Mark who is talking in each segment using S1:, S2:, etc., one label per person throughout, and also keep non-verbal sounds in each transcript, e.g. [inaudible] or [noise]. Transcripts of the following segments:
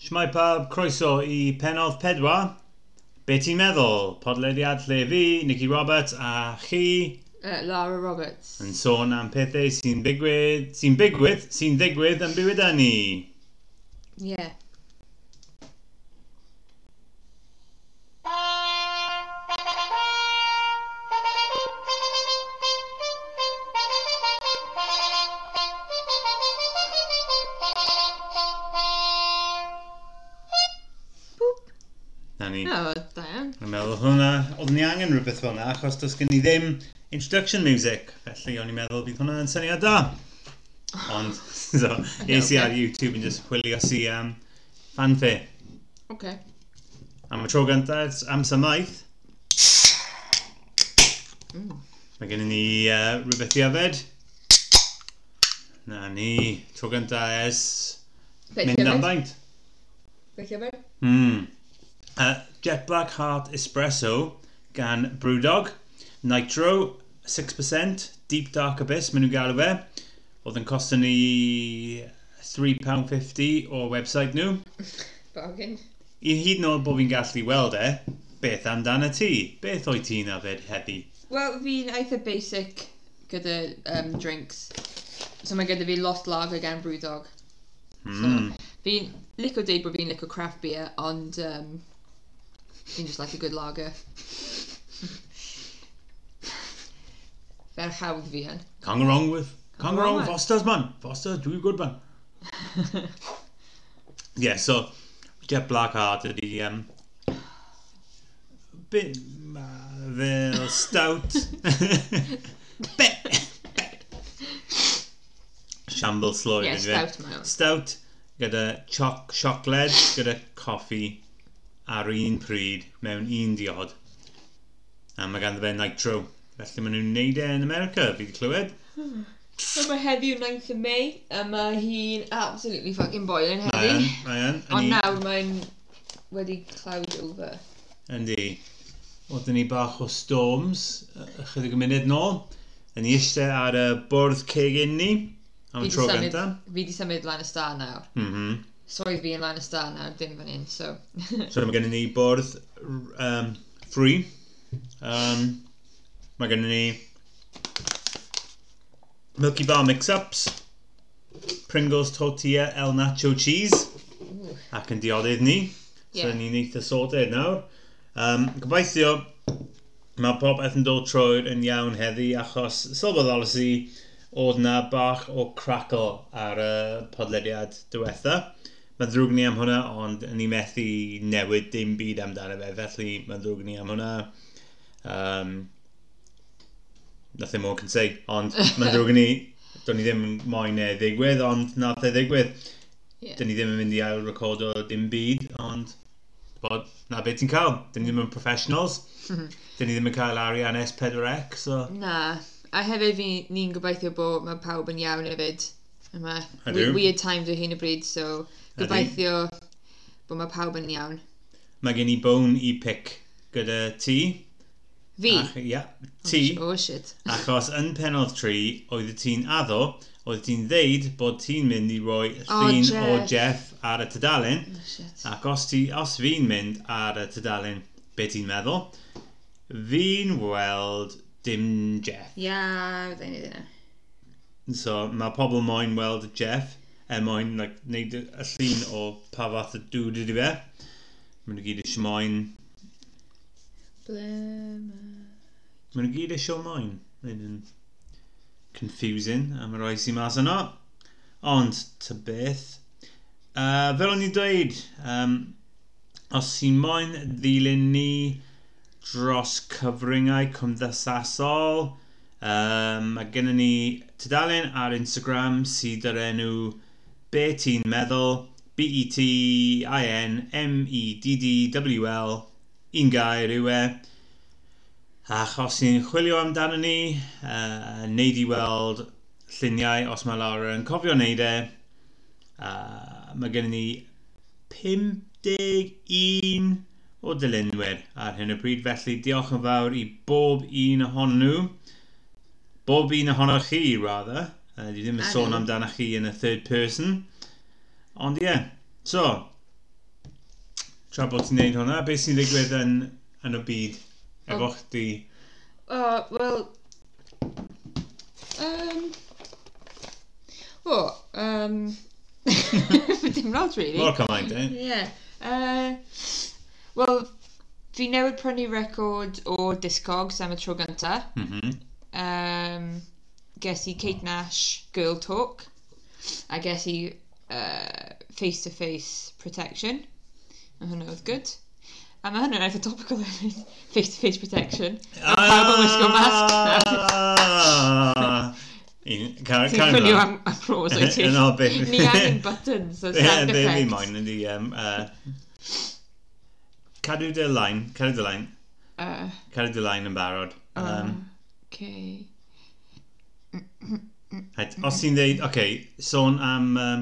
S1: Shmai pawb, croeso i pennod pedwar. Be ti'n meddwl? Podlediad lle fi, Nicky Roberts a chi
S2: Uh, Lara Roberts.
S1: yn sôn am pethau sy'n digwydd, sy'n digwydd, sy'n digwydd yn bywyd ni.
S2: Yeah.
S1: Na ni.
S2: Oh, Diane.
S1: Dwi'n meddwl hwnna, oeddwn ni angen rhywbeth fel yna, achos does gen i ddim introduction music, felly o'n i'n meddwl bydd hwnna yn syniad da. Ond, [laughs] so, es i ar YouTube yn just chwilio si am fanfe.
S2: Okay.
S1: Am y tro gyntaf, am symaith,
S2: Mm.
S1: mae gen i ni uh, rhywbeth i yfed. Na ni, tro gyntaf ers mynd am baint. Mm. Uh, Jet Black Heart Espresso gan Brewdog. Nitro, 6%. Deep Dark Abyss, maen nhw'n galw fe. Oedd yn costo ni £3.50 o website nhw.
S2: Bargain.
S1: I hyd yn oed bod fi'n gallu weld e, beth amdana ti? Beth o'i ti'n yfed heddi?
S2: Wel, fi'n eitha basic gyda um, drinks. So mae gyda fi lot lager gan Brewdog.
S1: Mm.
S2: Fi'n lico deud bod fi'n lico craft beer, ond um, fi'n just like a good lager. [laughs] Fer hawdd fi hyn.
S1: Can't go wrong with... Can't go wrong
S2: wrong
S1: with
S2: with.
S1: Foster's, man. Foster, dwi'n gwybod, man. Yeah, so Jet Blackheart ydi um, bit ma- fel stout. [laughs] bit. Shamble sloyd.
S2: yeah,
S1: yndyfe?
S2: stout mae o.
S1: Stout gyda choc siocled gyda coffi ar un pryd mewn un diod. A mae ganddo fe nitro. Felly maen nhw'n neud e yn America, fi wedi clywed.
S2: So mae heddiw 9th of May, a mae hi'n absolutely fucking boiling
S1: Mae yn,
S2: heddi.
S1: mae yn.
S2: Ond
S1: O'n i-
S2: nawr mae'n wedi cloud over.
S1: Yndi. Oedden ni bach o storms y- ychydig o munud nôl. Yn ni eistedd ar y bwrdd ceg un ni. Am y
S2: Fi 'di
S1: tro
S2: symud-
S1: gyntaf.
S2: Fi di symud lan y star nawr.
S1: Mm
S2: Swydd fi yn lan y star nawr, dim fan hyn, so...
S1: [laughs] So mae gen i ni bwrdd r- um, free. Um, mae gen i ni Milky Bar Mix-Ups. Pringles Tortilla El Nacho Cheese.
S2: Ooh.
S1: Ac yn diodydd ni. So
S2: Ie.
S1: ni'n eitha sorted nawr. Um, gobeithio, mae popeth yn dod trwy'r yn iawn heddi achos sylweddolus i oedd na bach o crackle ar y podlediad diwetha. Mae'n ddrwg ni am hwnna, ond ni methu newid dim byd amdano fe, felly mae'n ddrwg ni am hwnna. Um, nothing more can say, ond mae'n ddrwg ni, do'n ni ddim yn moyn e ddigwydd, ond nath e ddigwydd.
S2: Ie.
S1: Dyn ni ddim yn mynd i ail recordo dim byd, ond bod, na beth ti'n cael. Dyn ni ddim yn professionals.
S2: Mhm.
S1: Dyn ni ddim yn cael arian S4C, so...
S2: Na. A hefyd fi ni'n gobeithio bod mae pawb yn iawn hefyd. Yma.
S1: Ydw.
S2: Weird times o hyn y bryd, so gobeithio bod mae pawb yn iawn.
S1: Mae gen i bone i pic gyda ti.
S2: Fi?
S1: Ach, ia, ti.
S2: Oh shit.
S1: Achos yn penod tri, oedd ti'n addo, oedd ti'n ddeud bod ti'n mynd i roi
S2: O,
S1: llun o
S2: Jeff.
S1: Jeff ar y tydalen.
S2: Oh shit.
S1: Ac os, ti, os fi'n mynd ar y tydalen, be ti'n meddwl? Fi'n weld dim Jeff.
S2: Ia, fydda i'n neud yna.
S1: So mae pobl moyn weld Jeff er moyn like, neud y y llun o pa fath o dŵd ydi fe. Mae nhw gyd eisiau moyn...
S2: Blema.
S1: Mae nhw gyd eisiau moyn. Nid yn confusing am yr rhai sy'n mas yno. Ond, ta beth. Uh, fel o'n i dweud, um, os sy'n moyn ddilyn ni dros cyfryngau cymdeithasol, um, mae gennym ni tudalen ar Instagram sydd ar enw Be Ti'n Meddwl, E B-E-T-I-N-M-E-D-D-W-L, un gair yw e. Ac os ni'n chwilio amdano ni, uh, neud i weld lluniau os mae Laura yn cofio wneud e. Uh, mae gennym ni 51 o dilynwyr ar hyn o bryd, felly diolch yn fawr i bob un ohonyn nhw. Bob un ohonoch chi, rather. Uh, dwi ddim yn
S2: I
S1: sôn
S2: know.
S1: amdanoch chi yn y third person. Ond ie, yeah. so, tra bod ti'n neud hwnna, beth sy'n digwydd yn, yn y byd efo
S2: Oh.
S1: chdi?
S2: Uh, well, um, well, um, [laughs] dim lot really.
S1: Mor cymaint, eh?
S2: Yeah. Uh, well, fi newid prynu record o Discogs am y tro gynta.
S1: Mhm.
S2: Um, ges i Kate Nash Girl Talk. A ges i uh, Face to Face Protection. A hwnna oedd good. A mae hwnna'n eitha topical [laughs] hefyd. Face to Face Protection. A pawb yn wisgo masg.
S1: Ah! Un- ca-
S2: Ti'n
S1: cario
S2: ffynnu
S1: mlaen.
S2: am applause o'i
S1: [laughs]
S2: ti?
S1: Yn obyn.
S2: Ni angen buttons o
S1: Ie,
S2: sound
S1: be fi
S2: effects.
S1: moyn ydi... yym, yy, Cadw dy line, cadw dy line,
S2: Uh,
S1: cadw dy line yn barod.
S2: Ah.
S1: Um,
S2: okay.
S1: Right, os ti'n dweud, oce, okay, sôn am... Um,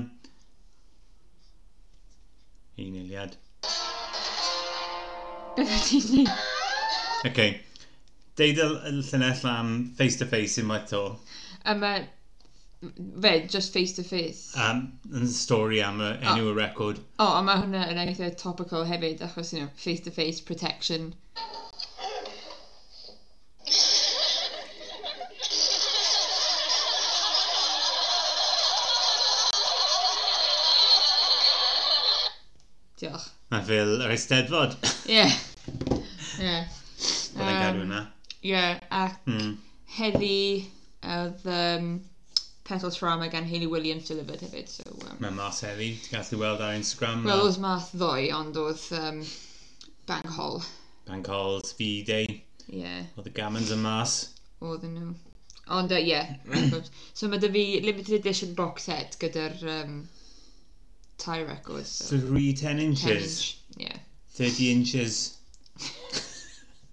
S1: un eiliad.
S2: Beth ti'n neud?
S1: Oce. Okay. Deud y y llynell am face-to-face unwaith to.
S2: A mae... Fe, just face to face.
S1: Um, yn stori am y enw
S2: Ah.
S1: y record.
S2: O, a mae hwnna yn eitha topical hefyd, achos, you know, face to face protection. Diolch.
S1: Mae fel yr Eisteddfod. Byddai'n
S2: Yeah. Yeah.
S1: um, gadw
S2: Um,
S1: yna.
S2: yeah, ac
S1: Mm.
S2: heddi oedd um, Petal Trama gan Hayley Williams delivered hefyd, so... Um,
S1: Mae mas heddi, ti'n gallu weld ar Instagram.
S2: Wel,
S1: Well,
S2: oedd math ddoe, ond oedd um, bang hol.
S1: Bank Halls, V-Day,
S2: Ie, yeah,
S1: oedd y gamons yn mas.
S2: oedden nhw. Ond, ie, uh, yeah, so mae dy fi limited edition box set gyda'r um, tie records. So,
S1: 3 10
S2: 10
S1: inches,
S2: inch. Ie, [laughs]
S1: 30 inches.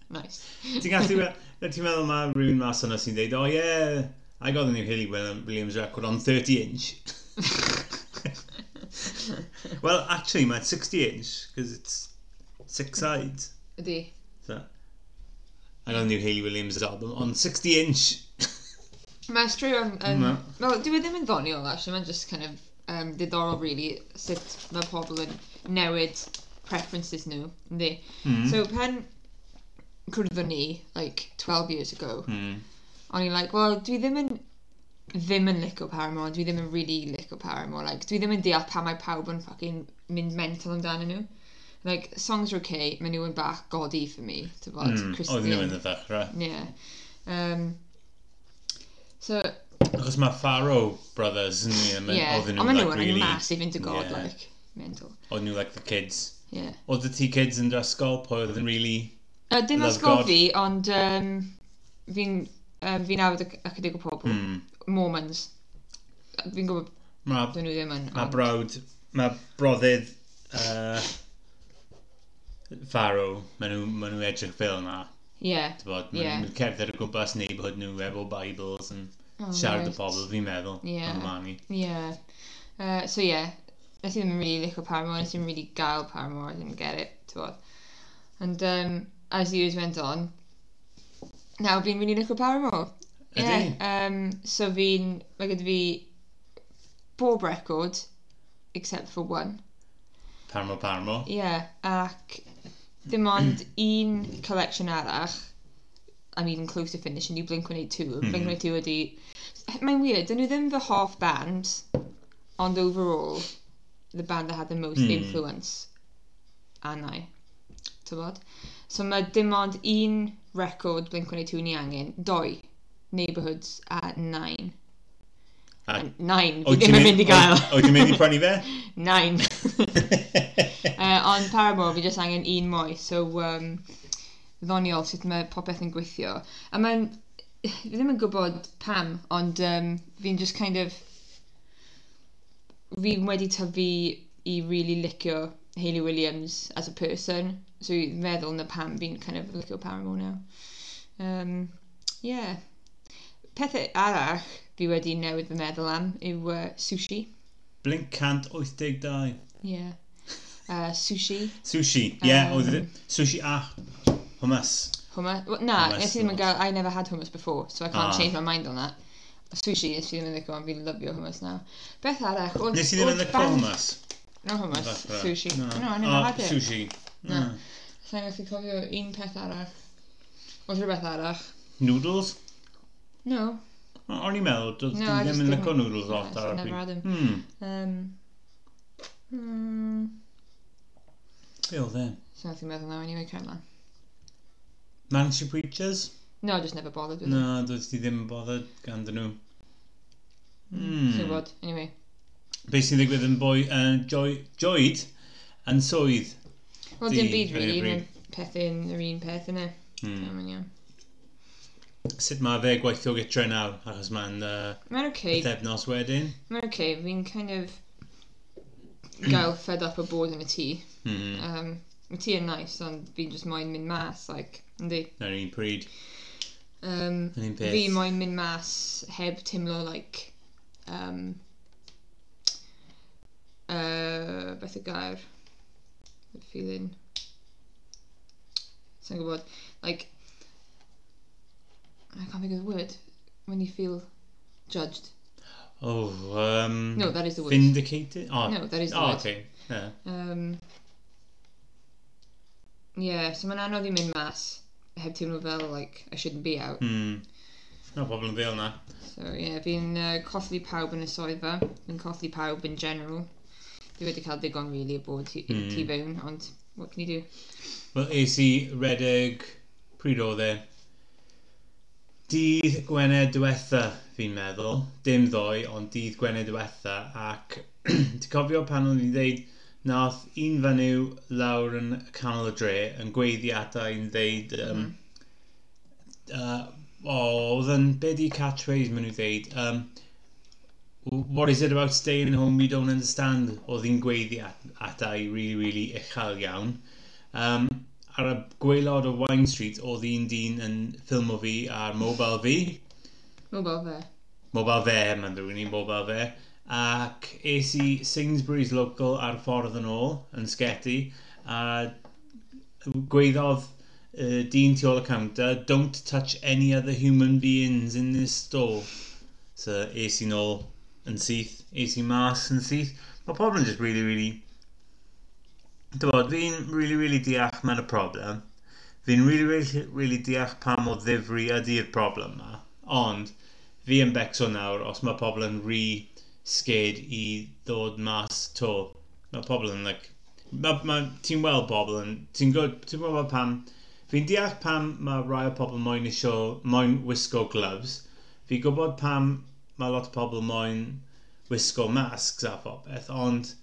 S2: nice.
S1: Ti'n gallu gweld, ti'n meddwl mae rhywun mas yna sy'n deud, oh yeah, I got the new Hilly Williams record on 30
S2: [laughs]
S1: inch. well, actually, mae 60 inch, because it's six sides.
S2: Ydi.
S1: So, I got the new Hayley Williams album on 60 inch.
S2: Mae Stray on... Um,
S1: Na.
S2: Wel, dwi ddim yn ddoniol, actually, mae'n just kind of um, diddorol, really, sut mae pobl yn newid preferences nhw, yndi.
S1: Mm.
S2: So, pen cwrdd ni, like, 12 years ago,
S1: mm.
S2: O'n i'n like, well, dwi ddim yn ddim yn licio Paramore, dwi ddim yn really licio Paramore. Like, dwi ddim yn deall pa mae pawb yn fucking mynd mental amdano nhw. Like, songs are okay, maen nhw yn bach godi for me, to bod,
S1: Mm. Oedd nhw yn y ddechrau.
S2: Yeah. Um, so,
S1: Achos mae Faro Brothers yn ni,
S2: But yeah,
S1: yeah. oedd
S2: ond
S1: nhw
S2: maen nhw
S1: like,
S2: yn
S1: really,
S2: massive into God,
S1: Yeah.
S2: like, mental.
S1: oedd nhw like the kids.
S2: Yeah.
S1: Oedd y ti kids yn drysgol, pa oedd yn really...
S2: Uh, dim
S1: Love
S2: asgob
S1: God.
S2: fi, ond um, fi'n um, fi nabod ychydig o pobl. Mm.
S1: Mm.
S2: Mormons. Fi'n gwybod
S1: Mae
S2: dyn nhw ddim yn.
S1: Mae
S2: ond-
S1: brawd, mae broddydd uh, Faro, maen nhw, maen nhw edrych fel yna.
S2: Yeah.
S1: Bod,
S2: Ie.
S1: maen nhw cerdded o gwmpas neighbourhood nhw efo Bibles yn
S2: Oh,
S1: siarad y
S2: right.
S1: pobl, fi'n meddwl.
S2: Ie.
S1: yn Mani.
S2: Yeah. Uh, so yeah, nes i ddim yn really licio Paramore, nes i ddim really gael Paramore, I didn't get it, tywod. And um, as the years went on, nawr fi'n really licio Paramore.
S1: Ydi?
S2: um, so fi'n, mae gyda fi bob record, except for one.
S1: Parmo, parmo.
S2: Yeah, ac dim ond un collection arach, I'm even close to finishing, yw Blink-182.
S1: Mhm.
S2: Blink-182 ydi... Mae'n weird, dyn nhw ddim fy hoff band, ond overall, the band that had the most
S1: Hmm.
S2: influence arna i. Tybod? So mae dim ond un record Blink-182 ni angen, doi, Neighbourhoods a Nine.
S1: A-
S2: Nine,
S1: O,
S2: fi
S1: ti'n
S2: ddim yn mynd i gael.
S1: O, o, ti'n mynd i prynu fe?
S2: Nine. [laughs] Uh, on Paramore, fi jyst angen un mwy, so um, ddoniol sut mae popeth yn gweithio. A mae'n, fi ddim yn gwybod pam, ond um, fi'n just kind of, fi wedi tyfu i really licio Hayley Williams as a person, so fi'n meddwl na pam fi'n kind of licio Paramore now. Um, yeah. Pethau arall fi wedi newid fy meddwl am yw uh, sushi.
S1: Blink 182.
S2: Yeah. [laughs] Uh, sushi.
S1: Sushi, ie. Yeah,
S2: Um,
S1: um, sushi a hummus.
S2: Hummus. Well, nah,
S1: Hummus
S2: nes i ddim yn
S1: and
S2: gael... I never had hummus before, so I can't
S1: Ah.
S2: change my mind on that. Sushi, nes i ddim yn ddico, ond fi'n lyfio hummus now. Beth arall? oedd-
S1: Nes i ddim yn
S2: oedd
S1: licio
S2: band-
S1: hummus.
S2: No hummus,
S1: Ddechrau.
S2: sushi. No, I never
S1: O,
S2: had it.
S1: Ah, Sushi. Hmm.
S2: Na. Sa'n gallu cofio un peth arall. Oes rhywbeth arall?
S1: Noodles?
S2: No.
S1: O- O'n i'n meddwl, doedd
S2: No,
S1: no,
S2: I just
S1: ddim yn
S2: didn't-
S1: licio noodles
S2: Yeah,
S1: lot
S2: so
S1: ar y
S2: never had 'em.
S1: Hmm,
S2: Um, mm,
S1: be oedd e?
S2: Sa'n gallu meddwl now anyway, cael man.
S1: Manchu Preachers?
S2: No, I just never bothered with it.
S1: Na, doedd ti ddim yn bothered gan dyn nhw.
S2: So
S1: Hmm.
S2: what? Anyway.
S1: Be sy'n ddigwydd yn boi, uh, joy, joyd yn swydd.
S2: Wel,
S1: Di,
S2: dim byd
S1: I
S2: rili,
S1: agree.
S2: mae'n pethau'n yr un peth yna.
S1: Hmm.
S2: Mm.
S1: Sut mae fe gweithio gytre nawr, achos mae'n uh,
S2: Mae'n okay.
S1: ddefnos wedyn.
S2: Mae'n okay. Fi'n kind of gael fed up o bod yn y tŷ.
S1: Hmm,
S2: Um, y tŷ yn nice, ond fi'n just moyn mynd mas, like, yndi.
S1: na'r un pryd.
S2: Um,
S1: Yn un peth.
S2: fi moyn mynd mas heb teimlo, like, um, uh, beth y gair? Y feeling. Sa'n gwybod. Like, I can't think of the word. When you feel judged.
S1: Oh, um,
S2: No, that is the word.
S1: vindicated? Oh,
S2: No, that is the
S1: oh
S2: word.
S1: okay. Yeah.
S2: Um, yeah, so mae'n anodd i mynd mas heb teimlo fel, like, I shouldn't be out.
S1: Hmm. No problem fi o'na.
S2: So, yeah, fi'n uh, colli pawb yn y swyddfa, fi'n colli pawb in general. Dwi wedi cael digon rili really, o bod mm.
S1: Mm.
S2: tu fewn, ond what can you do?
S1: Wel, es i redeg pryd oedd e. Dydd Gwener diwetha, fi'n meddwl. Dim ddoe, ond dydd Gwener diwetha. Ac [clears throat] ti'n cofio pan o'n i'n dweud, nath un fenyw lawr yn canol y dre yn gweiddi ata i'n dweud... Um, uh, o, oedd yn... Be di catchphrase maen nhw dweud? Um, What is it about staying home you don't understand? Oedd hi'n gweiddi at- ata i really, really uchel iawn. Um, ar y gwaelod o Wine Street, oedd un dyn yn ffilmo fi ar mobile fi.
S2: Wel, bo fe.
S1: Mobile fe, mae'n rhywun i'n mobile fe. Ac es i Sainsbury's local ar ffordd yn ôl, yn sgeti, a gweiddodd uh, dyn tu ôl y counter, don't touch any other human beings in this store. So es i nôl yn syth, es i mas yn syth. Mae pobl yn just really, really... Dywod, fi'n really, really deall mae'n y problem. Fi'n really, really, really deall pam o ddifri ydy'r problem ma. Ond, fi yn becso nawr os mae pobl yn re scared i ddod mas to. Mae pobl yn, like... Ma, ma, ti'n weld pobl yn... Ti'n gwybod ti gweld pam... Fi'n deall pam mae rai o pobl moyn isio... moyn wisgo gloves. Fi'n gwybod pam mae lot o pobl moyn wisgo masks a phobeth, ond...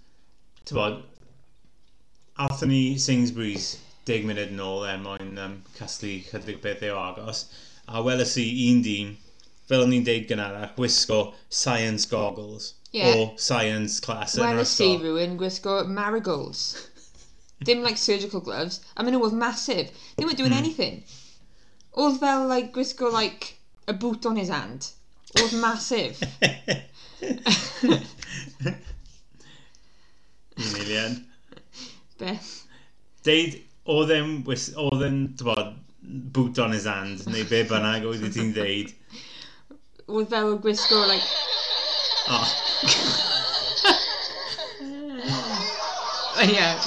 S1: Ti'n bod... Athyn ni Sainsbury's 10 munud yn ôl er mwyn um, casglu chydig bethau o agos. A weles i un dyn, fel o'n i'n deud gynharach, wisgo science goggles.
S2: Ie.
S1: O science class yn
S2: Wel,
S1: yr
S2: y si
S1: ysgol.
S2: rhywun gwisgo marigolds. Dim, like, surgical gloves. A maen nhw oedd massive. They weren't doing anything. Oedd fel, like, gwisgo, like, a boot on his hand. Oedd massive.
S1: Milian.
S2: Beth.
S1: Deud, oedd e'n, wis- oedd e'n, tybod, boot on his hand, neu be bynnag oedd i ti'n ddeud.
S2: Oedd fel gwisgo, like,
S1: Oh,
S2: yeah.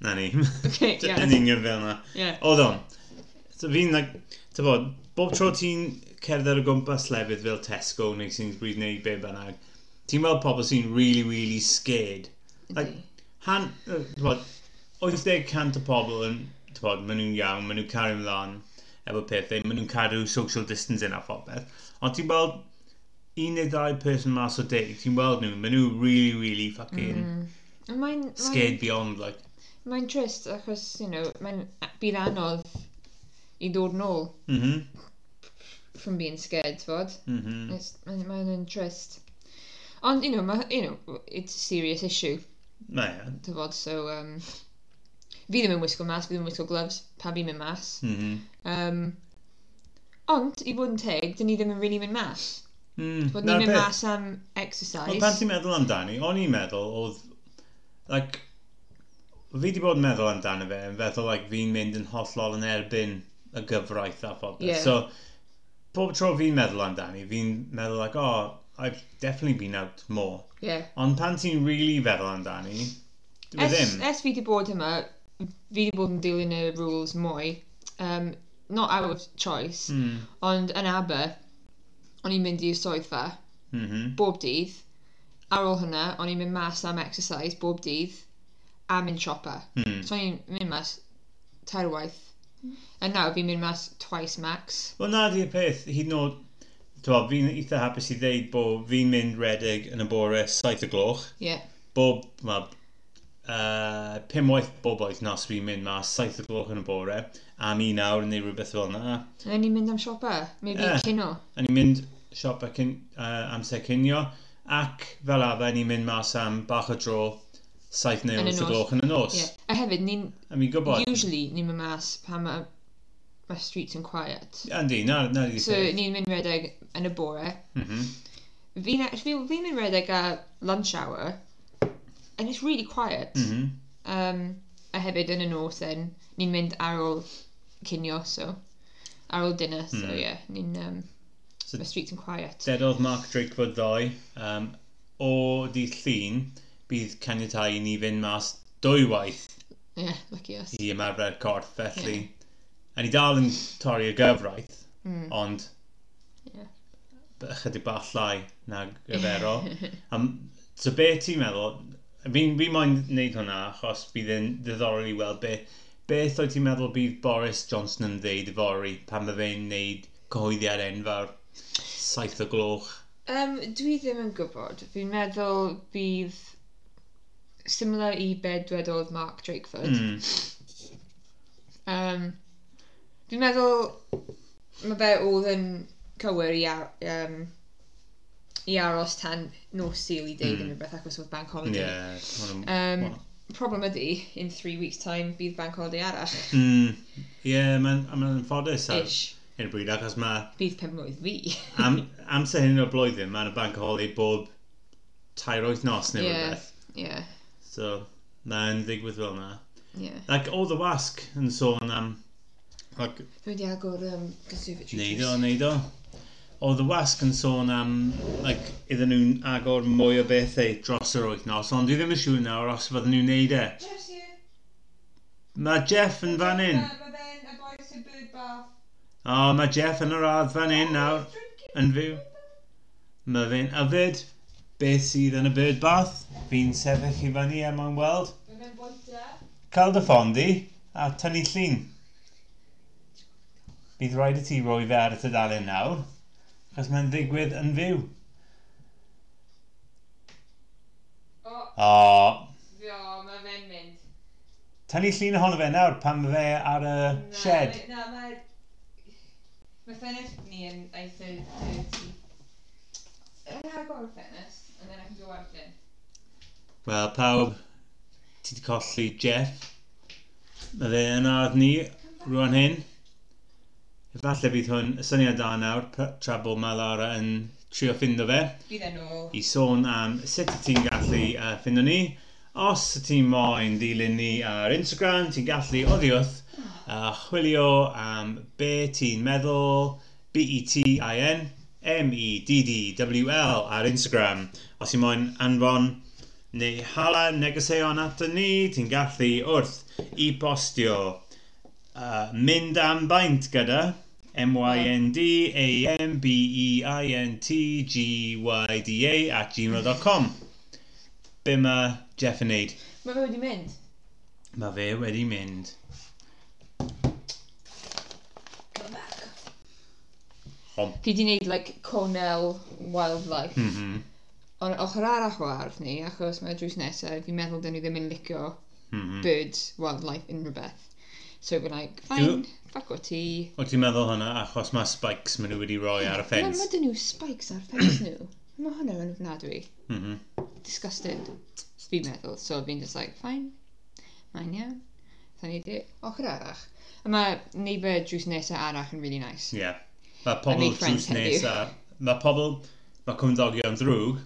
S1: na ni.
S2: Okay, yeah.
S1: Yn union fel na.
S2: Yeah.
S1: Oedd o'n. So fi'n, like, tybod, bob tro ti'n cerdded ar y gwmpas lefydd fel Tesco neu Sainsbury's neu be bynnag, ti'n weld pobl sy'n really, really scared. Like, han, yy, t'bod, 80% o pobl yn, t'bod, maen nhw'n iawn, maen nhw'n cario ymlaen efo pethau, maen nhw'n cadw social distancing a phobeth. Ond ti'n weld un neu ddau person mas o deg, ti'n weld nhw, maen nhw really, really fucking mm.
S2: Ond Mae'n... mae'n-
S1: scared beyond, like,
S2: Mae'n trist achos, you know, mae'n bydd anodd i ddod nôl
S1: mhm,
S2: from being scared, fod.
S1: mhm,
S2: It's- Mae'n mae'n yn trist. Ond, you know, ma, you know, it's a serious issue,
S1: na ia,
S2: tyfod, so... Um, fi ddim yn wisgo mas, fi ddim yn wisgo gloves, pa fi'n mynd mas.
S1: mhm.
S2: Um, ond, i fod yn teg, dyn ni ddim yn really mynd mas.
S1: Mm,
S2: Bod
S1: na'r
S2: ni'n mynd
S1: peth.
S2: mas am exercise.
S1: Wel, pan ti'n meddwl amdani, o'n i'n meddwl oedd, like, fi di bod yn meddwl amdano fe, yn feddwl, like, fi'n mynd yn hollol yn erbyn y gyfraith a phobeth.
S2: Ie.
S1: So, pob tro fi'n meddwl amdani, fi'n meddwl, like, oh, I've definitely been out more.
S2: Yeah.
S1: Ond pan ti'n really feddwl amdani, e With
S2: es, e-
S1: him.
S2: es fi di bod yma, fi di bod yn dilyn y rules mwy, um, not out of choice,
S1: Mm.
S2: ond yn aber, o'n i'n mynd i'r swyddfa
S1: Mhm.
S2: bob dydd, ar ôl hynna, o'n i'n mynd mas am exercise bob dydd, a mynd siopa.
S1: Mm.
S2: So o'n i'n mynd mas tair waith, a nawr fi'n mynd mas twice max.
S1: Wel na di'r peth, hyd yn oed, dwi'n fi'n eitha hapus i ddeud bod fi'n mynd redeg yn y bore saith y gloch.
S2: Yeah.
S1: Bob, ma, uh, pum waith bob oeth nas fi'n mynd mas saith y gloch yn y bore am un awr neu rhywbeth fel na.
S2: And then i'n mynd am siopa, maybe
S1: Ie.
S2: yeah. cino.
S1: A ni'n mynd siop ac yn, uh, amser cynio ac fel arfer ni'n mynd mas am bach o dro saith neu
S2: Yn y
S1: wyth
S2: nos.
S1: y gloch yn y nos.
S2: Yeah. A hefyd, ni'n
S1: A mi'n gwybod.
S2: usually ni'n mynd mas pan mae ma streets yn quiet.
S1: Andi, na, na di'r
S2: So
S1: peth.
S2: ni'n mynd redeg yn y bore.
S1: Mhm.
S2: Fi'n actually, fi'n mynd redeg ar lunch hour, and it's really quiet.
S1: Mhm.
S2: Um, a hefyd yn y nos then, ni'n mynd ar ôl cinio, so ar ôl dinner, so
S1: Mm.
S2: yeah, ni'n, um,
S1: So-
S2: so, streets yn quiet.
S1: Dedodd Mark Drakeford ddoe um, o dydd llun bydd caniatau i ni fynd mas dwy waith
S2: Yeah, lucky us.
S1: i ymarfer corff felly a ni dal yn torri y gyfraith
S2: Mm.
S1: ond
S2: Ie.
S1: b- ychydig bach llai na
S2: [laughs]
S1: gyferol um, so be ti'n meddwl fi'n fi moyn wneud hwnna achos bydd yn ddiddorol i weld be beth oed ti'n meddwl bydd Boris Johnson yn ddeud yfory pan mae fe'n wneud cyhoeddiad enfawr saith o gloch
S2: Um, dwi ddim yn gwybod. Fi'n meddwl bydd similar i bedwedodd Mark Drakeford.
S1: mm.
S2: Um, dwi'n meddwl mae fe oedd yn cywir i, ar, um, i aros tan nos Sul i deud
S1: Mm.
S2: mm. rhywbeth acos oedd bank holiday.
S1: Yeah, kind of,
S2: Um,
S1: Wel.
S2: problem ydy, in three weeks time, bydd bank holiday arall.
S1: [laughs] mm, yeah, mae'n ma ymffodus ar
S2: Ish.
S1: hyn y bryd, achos mae
S2: Bydd pen
S1: [laughs]
S2: mlwydd fi.
S1: am, amser hyn o'r blwyddyn, mae'n y bank holi bob tair oed nos neu
S2: Ie.
S1: rhywbeth.
S2: yeah,
S1: So, mae'n ddigwydd fel yna.
S2: yeah.
S1: Like, oedd y wasg yn sôn am... Like,
S2: Dwi wedi agor um, conservatory.
S1: neud o,
S2: juice.
S1: neud o. Oedd y wasg yn sôn am, like, iddyn nhw'n agor mwy o bethau dros yr wythnos, ond dwi ddim yn siŵr nawr os fydden nhw'n neud e.
S2: Jeff's here.
S1: Mae Jeff yn fan hyn.
S2: Mae fe'n advice y bird bath.
S1: O, oh, mae Jeff yn yr ardd fan hyn nawr. yn fyw. Mae fe'n yfed beth sydd yn y bird bath. Fi'n sefyll i fyny a mae'n weld.
S2: Mae fe'n bwyta.
S1: Cael dy ffondi a tynnu llun. Bydd rhaid i ti roi fe ar y tydalen nawr, achos mae'n ddigwydd yn fyw.
S2: O,
S1: O,
S2: o mae fe'n mynd.
S1: tynnu llun ohono fe nawr pan mae fe ar y shed.
S2: Na, mae... Mae ffenest ni yn eitha dirty. Yn agor y ffenest, and then I can go out then.
S1: Wel, pawb, ti di colli Jeff. Mae fe yn ardd ni rwan hyn. Efallai bydd hwn y syniad da nawr p- tra bod mae Lara yn trio ffindo fe
S2: Bydd e'n ôl.
S1: i sôn am sut wyt ti'n gallu uh, ffindo ni. Os wyt ti'n moyn dilyn ni ar Instagram, ti'n gallu oddi wrth uh, chwilio am be ti'n meddwl, E B-E-T-I-N, E M-E-D-D-W-L ar Instagram. Os ti'n moyn anfon neu hala negeseuon ato ni, ti'n gallu wrth i postio uh, mynd am baint gyda E m-y-n-d-a-m-b-e-i-n-t-g-y-d-a at gmail.com Be mae Jeff yn neud?
S2: Mae fe wedi mynd.
S1: Mae fe wedi mynd.
S2: Come back.
S1: Hom.
S2: Fi di wneud, like, Cornell Wildlife.
S1: Mm -hmm.
S2: Ond ochr arall o ardd ni, achos mae'r drws nesaf, fi'n meddwl dyn ni ddim yn licio
S1: Mm -hmm.
S2: birds, wildlife, unrhyw beth. So we're like, fine, fuck o ti.
S1: Wyt ti'n meddwl hwnna achos mae spikes maen nhw wedi roi ar y ffens?
S2: Na, mae dyn nhw spikes ar ffens nhw. Mae hwnna yn ofnadwy.
S1: Mm -hmm.
S2: disgusted fi meddwl so fi'n just like fine mae'n iawn so ni di ochr arach a mae neighbour drws nesa arach yn really nice
S1: Ie. Mae pobl drws
S2: friends heddiw.
S1: nesa... Mae pobl... Mae cymdogion ddrwg.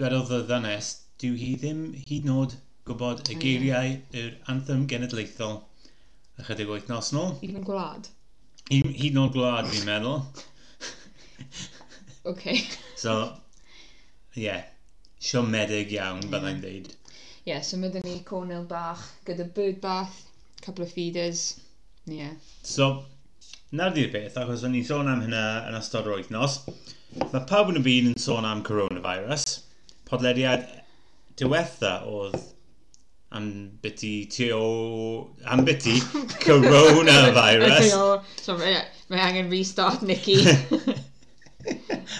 S1: Dwedodd y ddynes, dyw hi ddim hyd yn oed gwybod y
S2: O, ie.
S1: geiriau yr anthem genedlaethol ychydig wythnos nôl.
S2: even gwlad
S1: Hi- Hyd yn oed gwlad, fi'n meddwl.
S2: ok [laughs]
S1: So, ie. Yeah. Siomedig iawn, byddai'n dweud.
S2: ie yeah, so mae 'da ni cornel bach gyda bird bath, couple of feeders. Yeah.
S1: So, na di'r beth, achos o'n i'n sôn am hynna yn ystod yr wythnos. Mae pawb yn y byd yn sôn am coronavirus. Podlediad diwetha oedd am biti tu o... am biti
S2: Okay,
S1: coronavirus.
S2: o, so mae mae angen restart
S1: [laughs]
S2: Nicky. [laughs]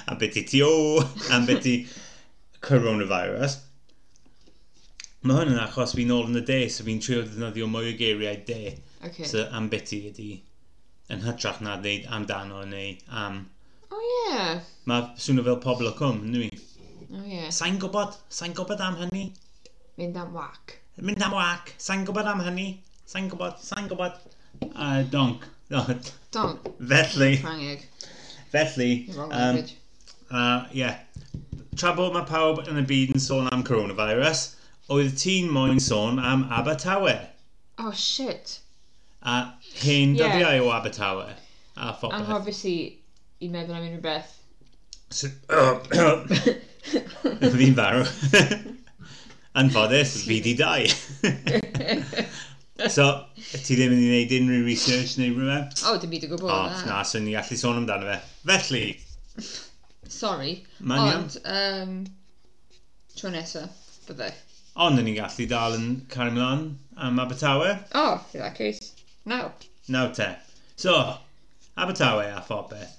S1: am biti tu o... am biti coronavirus. Mae hwn yn achos fi'n ôl yn y de, so fi'n trio ddefnyddio mwy o geiriau de.
S2: okay.
S1: So am biti ydi yn hytrach na ddeud amdano neu am...
S2: oh yeah.
S1: Mae swnio fel pobl o cwm, yn dwi.
S2: Oh yeah.
S1: Sa'n gwybod, sa'n gwybod am hynny.
S2: Mynd am whack.
S1: Mynd am wac, sa'n gwybod am hynny. Sa'n gwybod, sa'n gwybod. A uh, donc.
S2: Don't.
S1: [laughs] felly,
S2: Frangeg.
S1: felly,
S2: Wrong
S1: um,
S2: language.
S1: uh, yeah. Tra bod mae pawb yn y byd yn sôn am coronavirus, oedd ti'n moyn sôn am Abertawe.
S2: oh shit.
S1: A hen
S2: Ie.
S1: dyddiau o Abertawe. A
S2: I'm
S1: phobeth.
S2: obviously i meddwl am unrhyw beth.
S1: So- [coughs] [laughs] Fi'n farw. [laughs] Anffodus, fi di dau. so, ti ddim yn ei wneud unrhyw research neu rhywbeth?
S2: oh, dim byd [laughs] o gwbl.
S1: O,
S2: na.
S1: na, so ni allu sôn amdano fe. Felly,
S2: Sorry.
S1: Ma'n iawn.
S2: Ond, um, tro nesa, bydde.
S1: ond ni'n gallu dal yn cario mlaen am Abertawe.
S2: Oh, in that case, no.
S1: Nawr te. So, Abertawe a phobeth.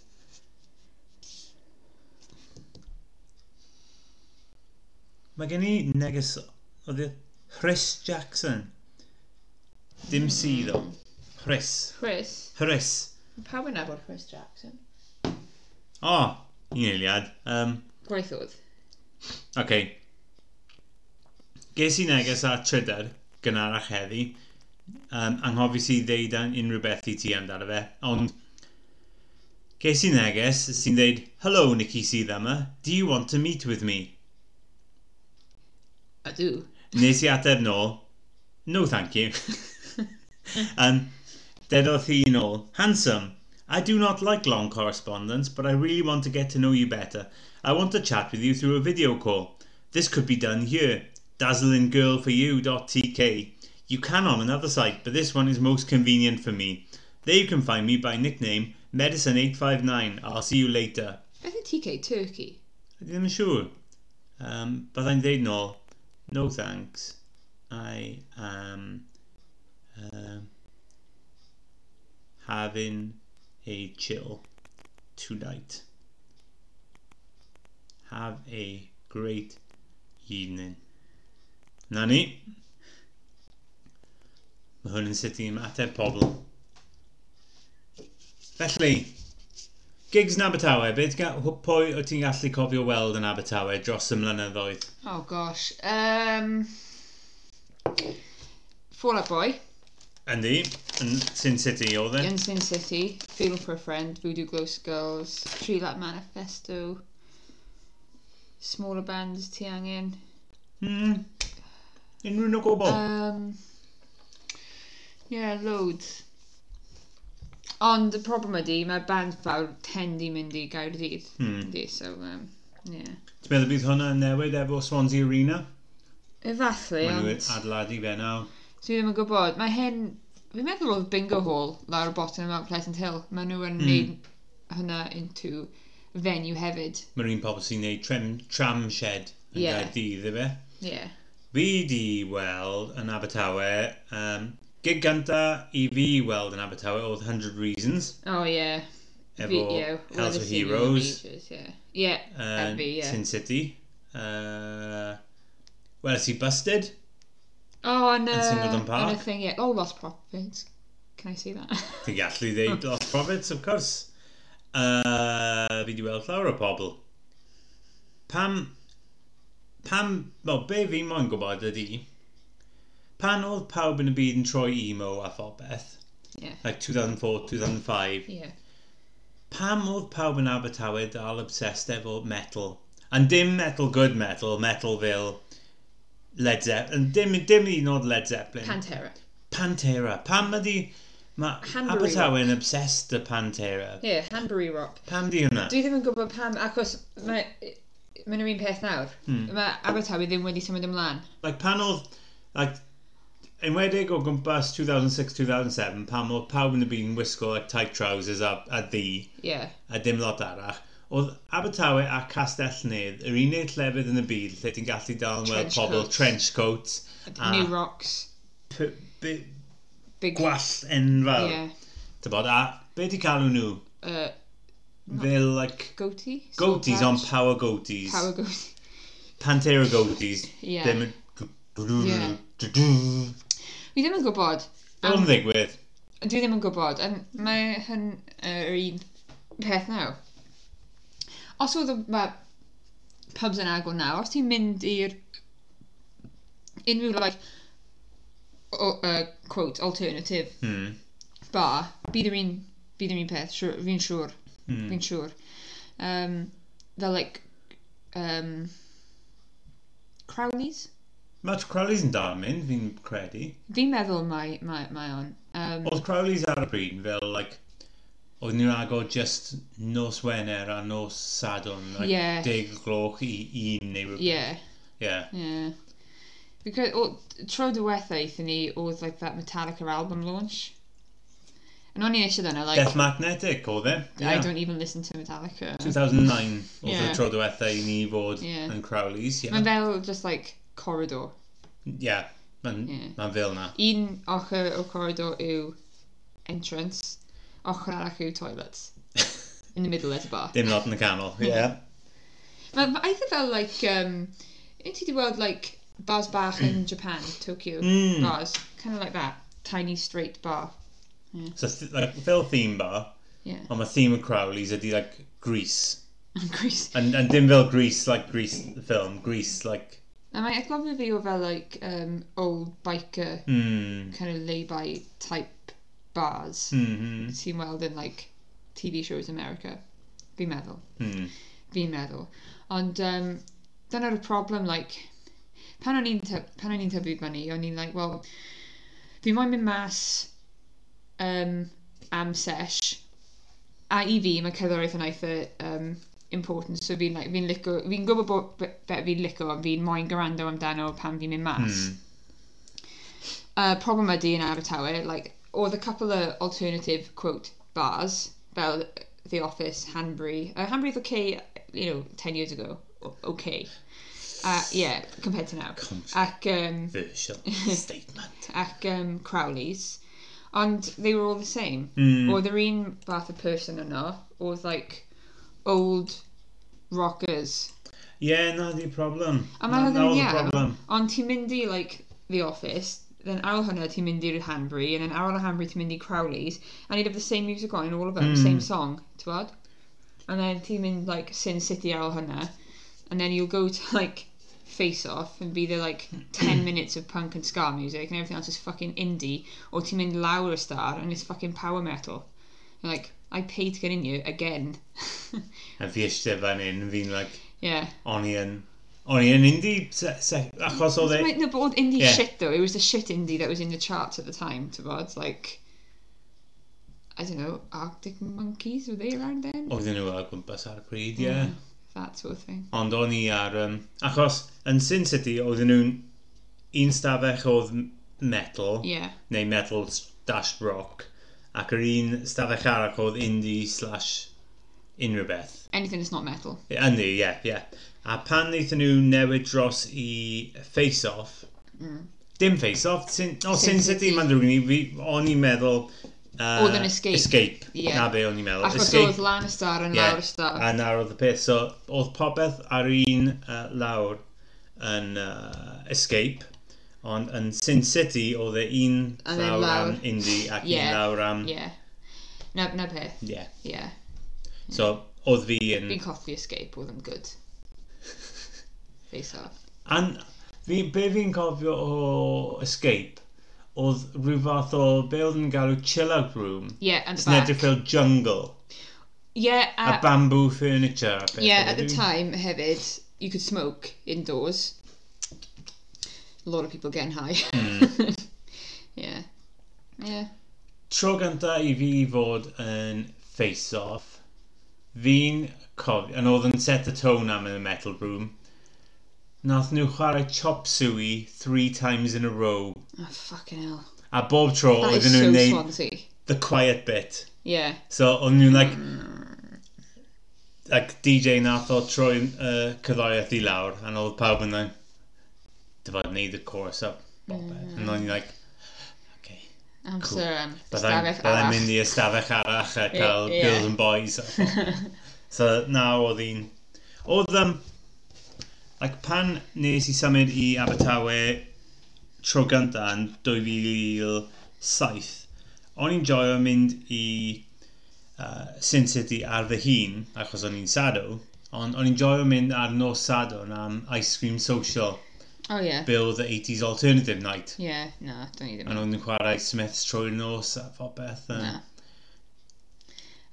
S1: Mae gen i neges oedd e Chris Jackson. Dim si ddo. Chris.
S2: Chris,
S1: Chris.
S2: pa wyna bod Chris Jackson?
S1: O, oh, un eiliad. Um,
S2: Gwaithodd.
S1: Oce. Okay. Ges i neges a trydar gynharach heddi. Um, anghofis i ddeud an unrhyw beth i ti amdano fe. Ond, ges i neges sy'n dweud, Hello, Nikki sydd yma. Do you want to meet with me?
S2: I [laughs] do.
S1: Nes i ateb nôl, No, thank you. [laughs] um, dedodd hi nôl, Handsome, I do not like long correspondence, but I really want to get to know you better. I want to chat with you through a video call. This could be done here. DazzlingGirlForYou.tk. You can on another site, but this one is most convenient for me. There you can find me by nickname Medicine859. I'll see you later.
S2: I think TK Turkey.
S1: Ydy ddim yn siŵr. Um, Byddai'n dweud nôl, no thanks, I am um, having a chill tonight. Have a great evening. Na ni. Mae hwn yn sut i ymateb e pobl. Felly, Gigs yn Abertawe, beth ga- hw- pwy o ti'n gallu cofio weld yn Abertawe dros y mlynyddoedd?
S2: Oh gosh. Um, Fall Out Boy,
S1: Yndi, yn Sin City oedd e.
S2: in Sin City, Funeral for a Friend, Voodoo Ghost Girls, Tree Light Manifesto, smaller bands ti angen.
S1: Hmm. Unrhyw nhw gwbl.
S2: Um, yeah, loads. Ond y problem ydy, mae band fawr tend i mynd i Gaerdydd.
S1: Hmm.
S2: Ydy, so, um, yeah.
S1: Ti'n meddwl bydd hwnna yn newid efo Swansea Arena?
S2: Efallai,
S1: Mae nhw
S2: ond
S1: adeiladu fe nawr.
S2: dwi ddim yn gwybod. Mae hyn, fi'n meddwl oedd Bingo Hall lawr y bottom yn Mount Pleasant Hill. Mae nhw
S1: Hmm.
S2: yn mm. neud hwnna into venue hefyd.
S1: Mae'r un pobl sy'n neud tram, tram shed yn
S2: Ie.
S1: yeah. Gaerdydd, efe.
S2: Yeah.
S1: Fi di weld yn Abertawe, um, gig gynta i fi weld yn Abertawe oedd 100 Reasons,
S2: Oh, yeah.
S1: efo Hells of Heroes.
S2: Yeah. yeah.
S1: uh,
S2: Envy, yeah.
S1: Sin City. Uh, well, he busted.
S2: Oh, and, uh,
S1: Singleton Park.
S2: And a thing, yeah. Oh, Lost Prophets. Can I see that? [laughs]
S1: Ti'n gallu ddeud Lost Prophets, of course. Uh, fi di weld llawer o pobl. Pam... Pam... Wel, be fi moyn gwybod ydi... Pan oedd pawb yn y byd yn troi emo a phobeth,
S2: Ie.
S1: like 2004, 2005,
S2: yeah.
S1: pam oedd pawb yn Abertawe dal obsessed efo metal? And dim metal, good metal, metal fel Led Zeppelin, dim, dim un o'r Led Zeppelin.
S2: Pantera.
S1: Pantera. Pam ydi... Mae
S2: Hanbury
S1: Abertawe yn obsessed â Pantera.
S2: Ie, yeah, Hanbury Rock.
S1: Pam di hwnna?
S2: Dwi ddim yn gwybod pam, achos mae... Mae'n yr un peth nawr.
S1: Hmm.
S2: Mae Abertawe ddim wedi symud ymlaen.
S1: like pan oedd like enwedig o gwmpas 2006-2007 pan oedd pawb yn y byd yn wisgo like tight trousers a, a ddi
S2: Ie. Yeah.
S1: a dim lot arach oedd Abertawe a Castell Nedd yr unig llefydd yn y byd lle ti'n gallu dal yn weld
S2: Trench
S1: pobl
S2: coats.
S1: trench coats a
S2: New Rocks.
S1: p- b-
S2: Big...
S1: gwall enfawr
S2: Yeah.
S1: T'bod, a be di galw nhw
S2: Uh,
S1: fe like
S2: goatee? Skull
S1: goatees on
S2: patch?
S1: power goatees
S2: Power goatee.
S1: Pantera goatees
S2: Ie.
S1: ddim yn
S2: Ie.
S1: Fel
S2: Fi ddim yn gwybod.
S1: yn ddigwydd
S2: Dwi ddim yn gwybod. Yn- Mae hyn yr un peth nawr. Os oedd y- ma pubs yn agor nawr, os ti'n mynd i'r unrhyw, like, o, uh, quote, alternative
S1: hmm.
S2: bar, bydd yr un, bydd yr un peth, siŵr- fi'n siŵr,
S1: Hmm.
S2: fi'n siŵr. Um, fel, like, um, Crowley's?
S1: Matt Crowley's yn dal yn mynd, fi'n credu.
S2: Fi'n meddwl mae, mae, mae on. Um,
S1: Oedd Crowley's ar y bryd fel, like, oedd nhw'n agor just nos Wener a nos Sadwrn, like,
S2: Ie.
S1: deg o gloch i un neu rhywbeth.
S2: yeah.
S1: Yeah.
S2: Yeah. Because o, tro diwetha aethon ni oedd like that Metallica album launch. And o'n i eisiau dyna, like,
S1: Death Magnetic, oedd e?
S2: I
S1: Yeah.
S2: don't even listen to Metallica.
S1: 2009 oedd y
S2: Yeah.
S1: tro diwetha i ni fod
S2: Yeah.
S1: yn Crowley's. Yeah.
S2: Mae'n fel just like corridor.
S1: Yeah. Mae'n
S2: Yeah.
S1: yeah. fel na. [laughs]
S2: Un ochr o corridor yw entrance, ochr arall yw toilets. In the middle at y bar.
S1: Dim lot yn y canol. Yeah.
S2: Mae ma, eitha fel like, um, un ti di weld like bars bach in Japan, Tokyo
S1: Mm.
S2: bars. Kind of like that. Tiny straight bar.
S1: So, th- like, fel theme bar,
S2: Yeah. [laughs]
S1: ond mae theme y Crowley's ydi, like, Grease.
S2: Yn Greece.
S1: And, and dim fel Grease, like, Grease, the film. Grease, like,
S2: A mae eglofio fi o fel, like, um, old biker,
S1: hmm.
S2: kind of lay-by type bars
S1: Mm-hmm.
S2: sy'n weld yn, like, TV shows America. Fi'n meddwl.
S1: Hmm.
S2: Fi'n meddwl. Ond, um, dyna'r problem, like, pan o'n i'n tyf- pan o'n i'n tyfu fyny, o'n i'n, like, well, fi moyn mynd mas um, am sesh, a i fi, mae cerddoriaeth yn eitha um, important, so fi'n, like, fi'n lico, fi'n gwybod bod be, be fi'n lico, ond fi'n moyn gwrando amdano pan fi'n mynd mas.
S1: Mm.
S2: uh, problem ydy yn Abertawe, like, oedd a couple of alternative, quote, bars, fel The Office, Hanbury. Uh, Hanbury's okay, you know, 10 years ago. O- Okay. Uh, yeah, compared to now. Ac, um,
S1: [laughs] Controversial statement.
S2: ac um, Crowley's. And they were all the same.
S1: Mm.
S2: Or the un fath of person yna oedd, like, old rockers.
S1: Yeah, no, the problem.
S2: A
S1: that
S2: mae
S1: was
S2: hynny'n
S1: the
S2: iawn.
S1: problem.
S2: Ond ti'n mynd i, like, the office, then ar ôl hwnna ti'n mynd i'r Hanbury, and then ar ôl y Hanbury ti'n mynd i Crowley's, and you'd have the same music on in all of them,
S1: Mm.
S2: same song, t'wod? And then ti'n mynd, like, Sin City ar ôl hwnna, and then you'll go to, like, Face Off, and be there, like, 10 minutes of punk and ska music, and everything else is fucking indie, or ti'n mynd lawr y star, and it's fucking power metal. You're like, I paid to get in here again. [laughs]
S1: A fi eisiau fan hyn, fi'n like,
S2: yeah.
S1: o'n i yn... O'n i yn indi, se, se, achos oedd
S2: It's
S1: e...
S2: like the old indie
S1: Yeah.
S2: shit though. It was the shit indie that was in the charts at the time. To bod like, I don't know, Arctic Monkeys were they around then?
S1: Oedden nhw ar gwmpas ar y pryd, ie.
S2: Hmm.
S1: Yeah.
S2: That sort of thing.
S1: Ond o'n i ar... Um, achos, yn Sin City, oedden nhw'n un stafell oedd m- metal,
S2: Yeah,
S1: neu metal s- dash rock, ac yr un stafell arach oedd indie slash unrhyw beth.
S2: anything that's not metal.
S1: Yn ni, ie, ie. A pan wnaethon nhw newid dros i Face Off,
S2: Mm.
S1: dim Face Off, Sin, o,
S2: Sin
S1: Sin City,
S2: City.
S1: mae'n drwy'n ni, fi, o'n i'n meddwl... Uh,
S2: Oedd yn Escape.
S1: Escape,
S2: Ie.
S1: na be o'n i'n meddwl.
S2: Achos oedd Lannister yn
S1: Ie.
S2: lawr y star.
S1: A nawr oedd y peth, so oedd popeth ar un uh, lawr yn uh, Escape, ond yn Sin City oedd e un
S2: Yn
S1: lawr,
S2: lawr.
S1: am Indie ac
S2: Ie.
S1: un lawr am...
S2: Yeah. Na, na peth.
S1: Yeah.
S2: Yeah.
S1: So, oedd fi yn...
S2: Fi'n colli escape oedd yn
S1: [laughs]
S2: good. Face off.
S1: And fi, be fi'n cofio o Escape, oedd rhyw fath o be oedd yn galw chill-out room.
S2: Yeah, and the
S1: Sy'n edrych
S2: back.
S1: fel jungle,
S2: Yeah, uh,
S1: a
S2: a,
S1: bamboo furniture. a pethau.
S2: yeah, at the
S1: Dwi'n-
S2: time hefyd, you could smoke indoors. A lot of people getting high.
S1: Hmm.
S2: [laughs] yeah. Yeah.
S1: Tro gynta i fi fod yn face-off, Fi'n cofio, yn oedd yn set y tone am yn y metal room, nath nhw chwarae chop suey three times in a row.
S2: Oh, fucking hell.
S1: A bob tro,
S2: That
S1: oedden
S2: is so
S1: nhw'n neud
S2: Swansea.
S1: the quiet bit.
S2: Yeah.
S1: So, o'n nhw'n like,
S2: Hmm.
S1: like DJ nath o troi uh, cyddoriaeth i lawr, and oedd pawb yn like, dyfod neud y chorus up.
S2: Hmm.
S1: Mm. And o'n i'n like, okay.
S2: Amser yn
S1: Byddai'n
S2: stafell
S1: byddai mynd i
S2: arall.
S1: ystafell arach a cael
S2: ie.
S1: girls and boys. a phobeth. so na oedd hi'n... Oedd um, like, pan nes i symud i Abertawe tro gynta yn 2007, o'n i'n joio mynd i uh, Sin City ar fy hun, achos o'n i'n sado, ond o'n i'n joio mynd ar nos sadwrn am Ice Cream Social,
S2: [laughs] Oh, yeah.
S1: Bill the 80s Alternative Night.
S2: Yeah, no, don't need it.
S1: A nhw'n chwarae Smith's trwy'r nos a phobeth. a-
S2: No.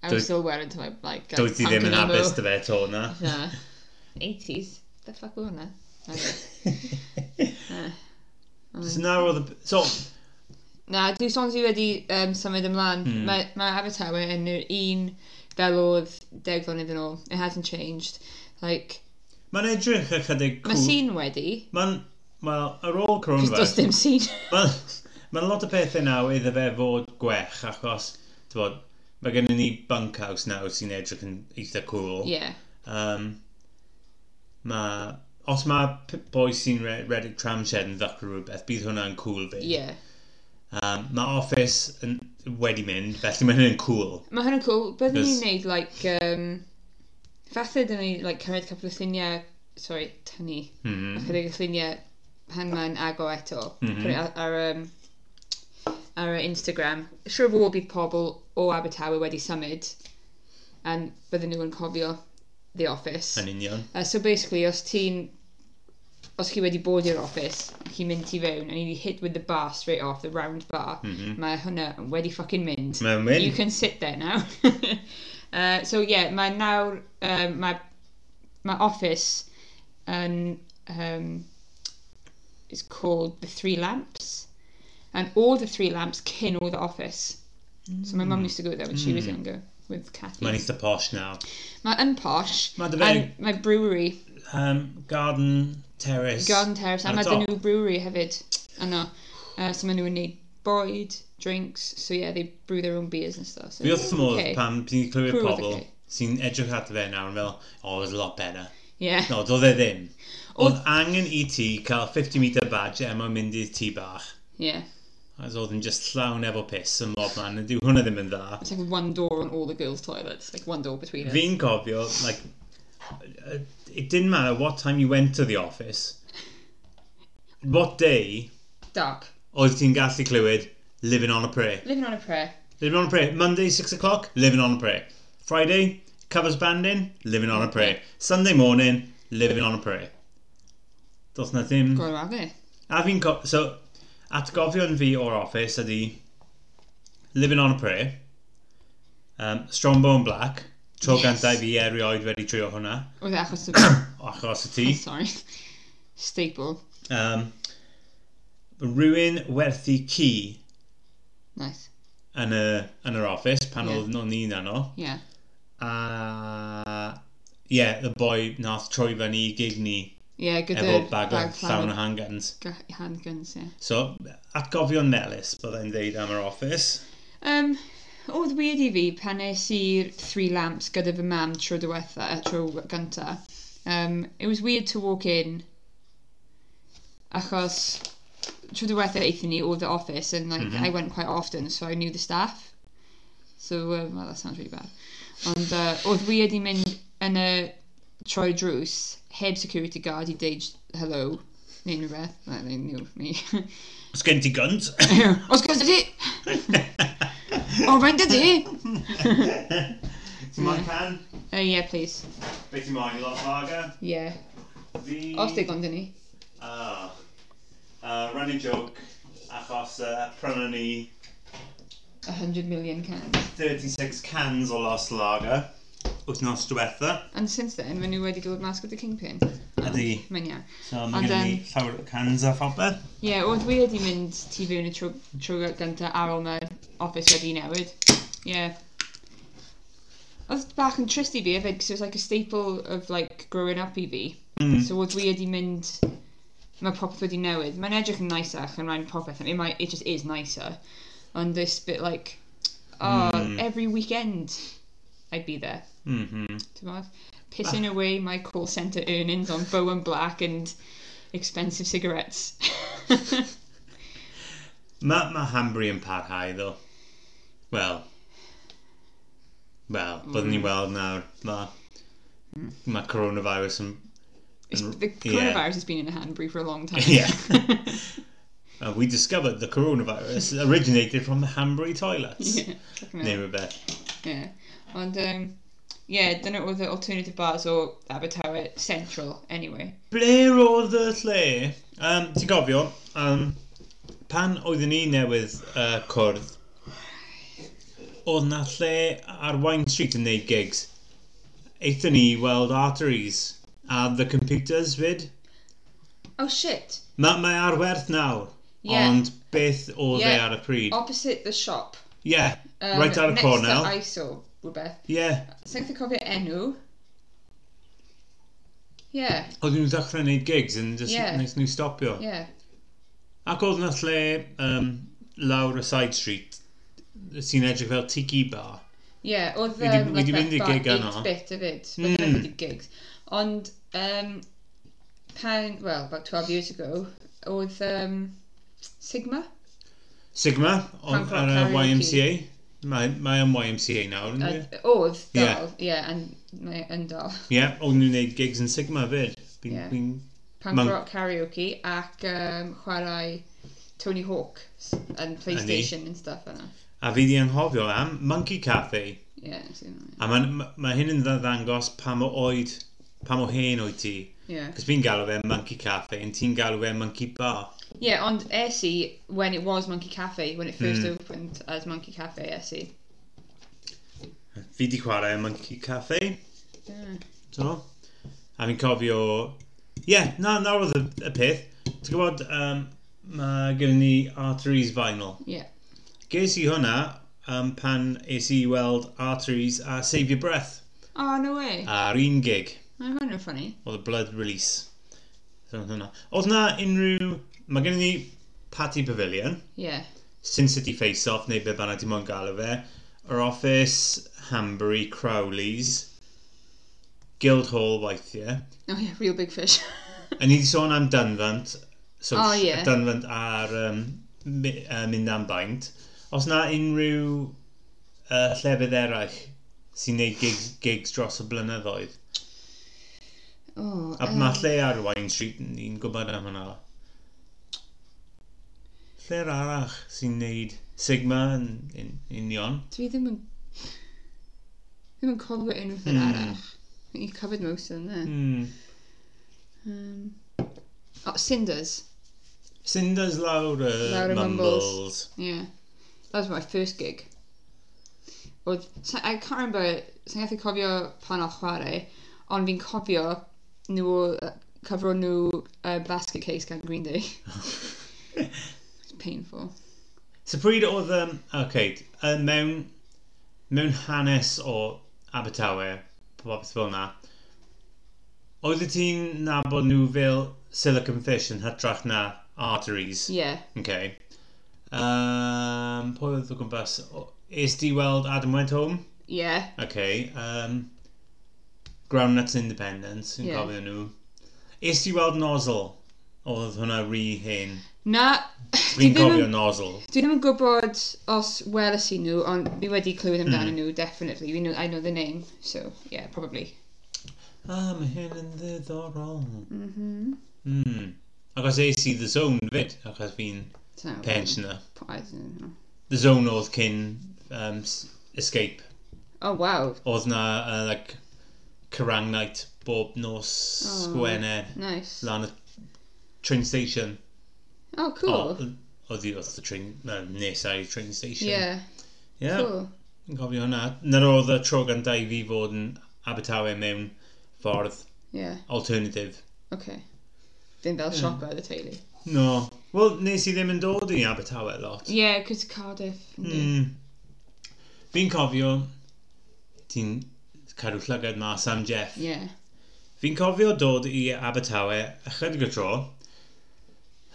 S2: I was
S1: Doedd-
S2: still wearing to my, like, like
S1: Doedd ti ddim yn
S2: punk and emo.
S1: abys
S2: [laughs]
S1: dy fe to na.
S2: No. 80s? The fuck were hwnna? Okay.
S1: [laughs] so nawr oedd y... So,
S2: Na, dwi sons i wedi um, symud ymlaen.
S1: Hmm.
S2: Mm. Mae, mae Abertawe yn yr un fel oedd deg flynedd yn ôl. It hasn't changed. Like,
S1: mae'n edrych ychydig
S2: mae sîn wedi,
S1: Mae'n... Wel, ar ôl
S2: cos does
S1: coronavirus...
S2: dim sîn.
S1: Mae'n ma lot o bethau naw iddo fe fod gwech, achos, ti'n bod, mae gennym ni bunkhouse nawr sy'n edrych yn eitha cool.
S2: [laughs] yeah.
S1: Um, mae... Os mae p- boi sy'n re redeg tramshed yn ddechrau rhywbeth, bydd hwnna'n cool fi.
S2: Yeah.
S1: Um, mae office yn, wedi mynd, felly mae hynny'n cool.
S2: Mae hwnna'n cool. Byddwn
S1: Cos-
S2: ni'n neud, like, um, fatha dyn ni, like, cymryd couple o lluniau, sorry, tynnu,
S1: Mm -hmm.
S2: chydig o lluniau hanman ago eto.
S1: Mhm.
S2: Put it ar, ar, um, ar y Instagram. Siwr fod bydd pobl o Abertawe wedi symud, and bydden nhw yn cofio The Office.
S1: Yn union.
S2: Uh, so basically, os ti'n... Os chi wedi bod i'r office, chi'n mynd i fewn, and you hit with the bar straight off, the round bar,
S1: Mhm.
S2: mae hwnna yn wedi fucking mynd.
S1: Mae'n
S2: You
S1: mynd.
S2: can sit there now. [laughs] uh, so yeah, mae nawr... Um, mae, mae office yn... Um, is called the Three Lamps. And all the Three Lamps kin all the office. So my mum used to go there when she was
S1: Mm.
S2: younger with Kathy.
S1: Mae'n eitha posh nawr.
S2: Mae yn posh.
S1: Mae dy fe-
S2: And my brewery
S1: um, garden terrace.
S2: Garden Terrace, a
S1: Ar y
S2: mae dyn
S1: top.
S2: nhw brewery hefyd yno. Uh, so maen nhw'n neud boyd, drinks, so yeah, they brew their own beers and stuff. So
S1: Fi wrth fy modd
S2: okay.
S1: pan ti'n clywed
S2: Cruel,
S1: pobl
S2: okay.
S1: sy'n edrych at y fe nawr yn fel, oh, it was a lot better.
S2: Yeah.
S1: No, doedd e ddim. Oedd angen i ti cael 50 metre badge a mae'n mynd i'r tŷ bach.
S2: Yeah.
S1: As oedd yn just llawn efo piss yn mob man, a dyw hwnna ddim yn dda.
S2: It's like one door on all the girls' toilets, like one door between us.
S1: Fi'n cofio, like, uh, it didn't matter what time you went to the office, what day,
S2: Dark.
S1: oedd ti'n gallu clywed, living on a prayer.
S2: Living on a prayer.
S1: Living on a prayer. Monday, six o'clock, living on a prayer. Friday, covers banding, living on a prayer. Sunday morning, living on a prayer. Does na ddim...
S2: Go around there.
S1: A fi'n co- So, atgofion fi o'r office ydi living on a prayer, um, Strombo and Black, tro
S2: Yes.
S1: gantau fi erioed wedi trio hwnna,
S2: Oedd e achos o...
S1: achos y ti.
S2: Sorry. Staple.
S1: Um, rwy'n werthu ci
S2: Nice.
S1: yn, y, yn yr office pan
S2: Ie.
S1: yeah. oedd ni'n anodd.
S2: Yeah.
S1: a yeah, the boy nath troi fan i gig ni
S2: Yeah, good uh,
S1: efo bag o llawn o handguns.
S2: handguns, yeah.
S1: So, atgofion melus, byddai'n ddeud am yr office.
S2: Um, oedd weird i fi pan nes i'r Three Lamps gyda fy mam tro diwetha, uh, tro gynta. Um, it was weird to walk in achos tro diwetha eithon ni oedd the office and like
S1: Mhm.
S2: I went quite often so I knew the staff. So, um, well, that sounds really bad. Ond uh, oedd weird i mynd yn y troi drws heb security guard i deud hello neu unrhyw beth. Like, they knew me. [laughs]
S1: Os gen ti guns?
S2: Os gwrs ydy! O, faint ydy!
S1: Ti moyn can?
S2: Uh, yeah, please.
S1: Be ti moyn? Lot lager?
S2: Yeah.
S1: Fi...
S2: Os digon dyn ni.
S1: Ah. Uh, running joke, achos uh, prynu ni
S2: 100 million cans.
S1: 36 cans o los lager wythnos diwetha.
S2: And since then, maen nhw wedi dod mas gyda Kingpin.
S1: Ydy.
S2: Mae'n iawn.
S1: So, mae
S2: Ond,
S1: gen ni
S2: yym,
S1: llawer o cans a phopeth.
S2: Ie, yeah, oedd wedi mynd tu fewn y tro, tro gyntaf ar ôl mae'r office wedi newid. Ie. Yeah. Oedd bach yn trist i fi hefyd, because it was like a staple of like growing up i fi.
S1: Mm.
S2: So oedd wedi i mynd, mae popeth wedi newid. Mae'n edrych yn nicer yn rhaid popeth. I mean, my, it just is nicer. Ond this bit like, oh,
S1: Mm.
S2: every weekend I'd be there.
S1: Mhm.
S2: Timod?
S1: Ah.
S2: Pissing away my call centre earnings on bow and black and
S1: [laughs]
S2: expensive cigarettes.
S1: Mae ma Hambry yn parhau, ddo. Wel. Wel, byddwn ni weld nawr. Mae ma coronavirus yn...
S2: It's,
S1: Mm,
S2: the
S1: yeah.
S2: coronavirus has been in Hanbury for a long time. [laughs]
S1: Yeah. Uh, we discovered the coronavirus originated from the Hambry toilets.
S2: yeah. fucking hell.
S1: Neu rhywbeth.
S2: Yeah. And um yeah, done it with the alternative bars or Abertawe Central anyway.
S1: Ble roedd y lle? Um, Ti'n gofio, um, pan oeddwn ni newydd uh, cwrdd, oedd na lle ar Wine Street yn neud gigs. Eithon ni weld arteries a the computers fyd.
S2: Oh shit.
S1: Mae ma ar werth nawr,
S2: Yeah.
S1: ond beth oedd yeah.
S2: Yeah.
S1: ar y pryd.
S2: Opposite the shop. Um,
S1: Ie, yeah, right ar y cornel. Ie,
S2: Next to ISO, rhywbeth.
S1: yeah.
S2: Sa'n gallu cofio enw. Yeah,
S1: oedden nhw'n ddechrau neud gigs yn just
S2: Yeah.
S1: yeah. nes nhw stopio.
S2: yeah.
S1: Ac oedd na lle um, lawr y side street sy'n edrych fel tiki bar.
S2: Yeah, oedd
S1: Wedi-
S2: um, like
S1: wedi mynd i
S2: that bar,
S1: gig yno.
S2: 8-bit hefyd,
S1: Mm.
S2: mm. wedi gigs. Ond, um, pan, well, about 12 years ago, oedd um, Sigma?
S1: Sigma
S2: Punk
S1: on,
S2: rock
S1: ar y
S2: karaoke.
S1: YMCA. Mae mae am YMCA nawr, yn
S2: Uh,
S1: dwi?
S2: Oedd,
S1: Yeah.
S2: dal, yeah, and mae yn dal.
S1: e? Ie, oedden nhw'n neud gigs yn Sigma fyd. Fi'n...
S2: Yeah.
S1: Yeah.
S2: Punk
S1: Ma'n-
S2: rock karaoke ac um, chwarae Tony Hawk s- and PlayStation and stuff yna.
S1: A fi di anghofio am Monkey Cafe.
S2: Yeah, I've seen that,
S1: A mae ma, ma hyn yn dda- ddangos pam o oed, pam o hen oed ti.
S2: yeah.
S1: Cos fi'n galw fe Monkey Cafe, yn ti'n galw fe Monkey Bar.
S2: Yeah, on Essie, when it was Monkey Cafe, when it first
S1: Hmm.
S2: opened as Monkey Cafe Essie.
S1: Fi di chwarae Monkey Cafe.
S2: Yeah.
S1: So, a fi'n cofio... Ie, yeah, na, na oedd y, y peth. Ti'n gwybod, um, mae gen ni Arteries vinyl.
S2: Yeah.
S1: Ges i hwnna um, pan es i weld Arteries a Save Your Breath
S2: Oh, no way.
S1: ar un gig.
S2: Mae hwn yn ffynnu.
S1: Oedd y Blood Release. So, oedd hwnna. Oedd na unrhyw... Mae gen ni Patty Pavilion,
S2: Yeah.
S1: Sin City Face Off, neu be fanna ti'n mwyn galw fe, yr Office, Hanbury, Crowley's, Guildhall weithiau,
S2: Oh yeah, real big fish.
S1: A ni wedi sôn am Dunfant. So
S2: O, ie.
S1: Dunfant ar um, my- uh, mynd am baint. Os na unrhyw uh, llefydd eraill sy'n neud gigs, gigs dros y blynyddoedd.
S2: oh,
S1: A mae lle ar Wine Street, ni'n gwybod am hwnna. Lle'r arach sy'n neud Sigma yn, yn union.
S2: Dwi ddim yn... Ddim yn cofio unrhyw thing
S1: Hmm.
S2: arach. You covered most of them there.
S1: Hmm.
S2: Um, oh, Cinders.
S1: Cinders lawr y
S2: Lawr y Mumbles.
S1: Mumbles.
S2: Yeah. That was my first gig. Oedd... sa- I can't remember... Sa'n gallu cofio pan o'ch chwarae, ond fi'n cofio nhw... uh, Cyfro nhw uh, basket case gan Green Day.
S1: [laughs]
S2: It's painful.
S1: So pryd oedd, um, okay, uh, mewn, mewn hanes o Abertawe, popeth fel na, oedd ti'n nabod nhw fel silicon fish yn hytrach na arteries,
S2: Yeah.
S1: okay. Um, pwy oedd o gwmpas? O- Is di weld Adam Went Home?
S2: Yeah.
S1: Okay, um, Groundnuts Independence, yn
S2: Ie.
S1: cofio nhw. Is di weld Nozzle? Oedd hwnna rhy hyn.
S2: Na... [laughs]
S1: Fi'n
S2: Dwi ddim yn-
S1: cofio Nozzle.
S2: Dwi ddim yn gwybod os weles i nhw, ond fi wedi clywed amdano
S1: Mm.
S2: nhw, definitely. We know, I know the name, so yeah, probably.
S1: Ah, mae hyn yn ddiddorol.
S2: Mm -hmm.
S1: Mm. Achos es i The Zone fyd, achos fi'n
S2: um,
S1: pensioner. The Zone oedd cyn um, S- Escape.
S2: Oh, wow.
S1: Oedd na, uh, like, Kerrang Night bob nos
S2: Oh.
S1: Sgwener
S2: Nice.
S1: lan y train station.
S2: Oh, cool.
S1: O- Oedd i oedd y train, uh, nes ar y train station.
S2: yeah,
S1: yeah.
S2: cool.
S1: Yn cofio hwnna. Nyr oedd y tro gan dau fi fod yn Abertawe mewn ffordd
S2: Yeah,
S1: alternative.
S2: okay.
S1: Mm.
S2: Ddim fel siop ar y teulu.
S1: No. Wel, nes i ddim yn dod i Abertawe lot. Hmm.
S2: Yeah, cos Cardiff. yndi?
S1: Mm. Fi'n cofio ti'n cadw llygad mas am Jeff.
S2: Ie.
S1: Fi'n cofio dod i Abertawe ychydig o tro.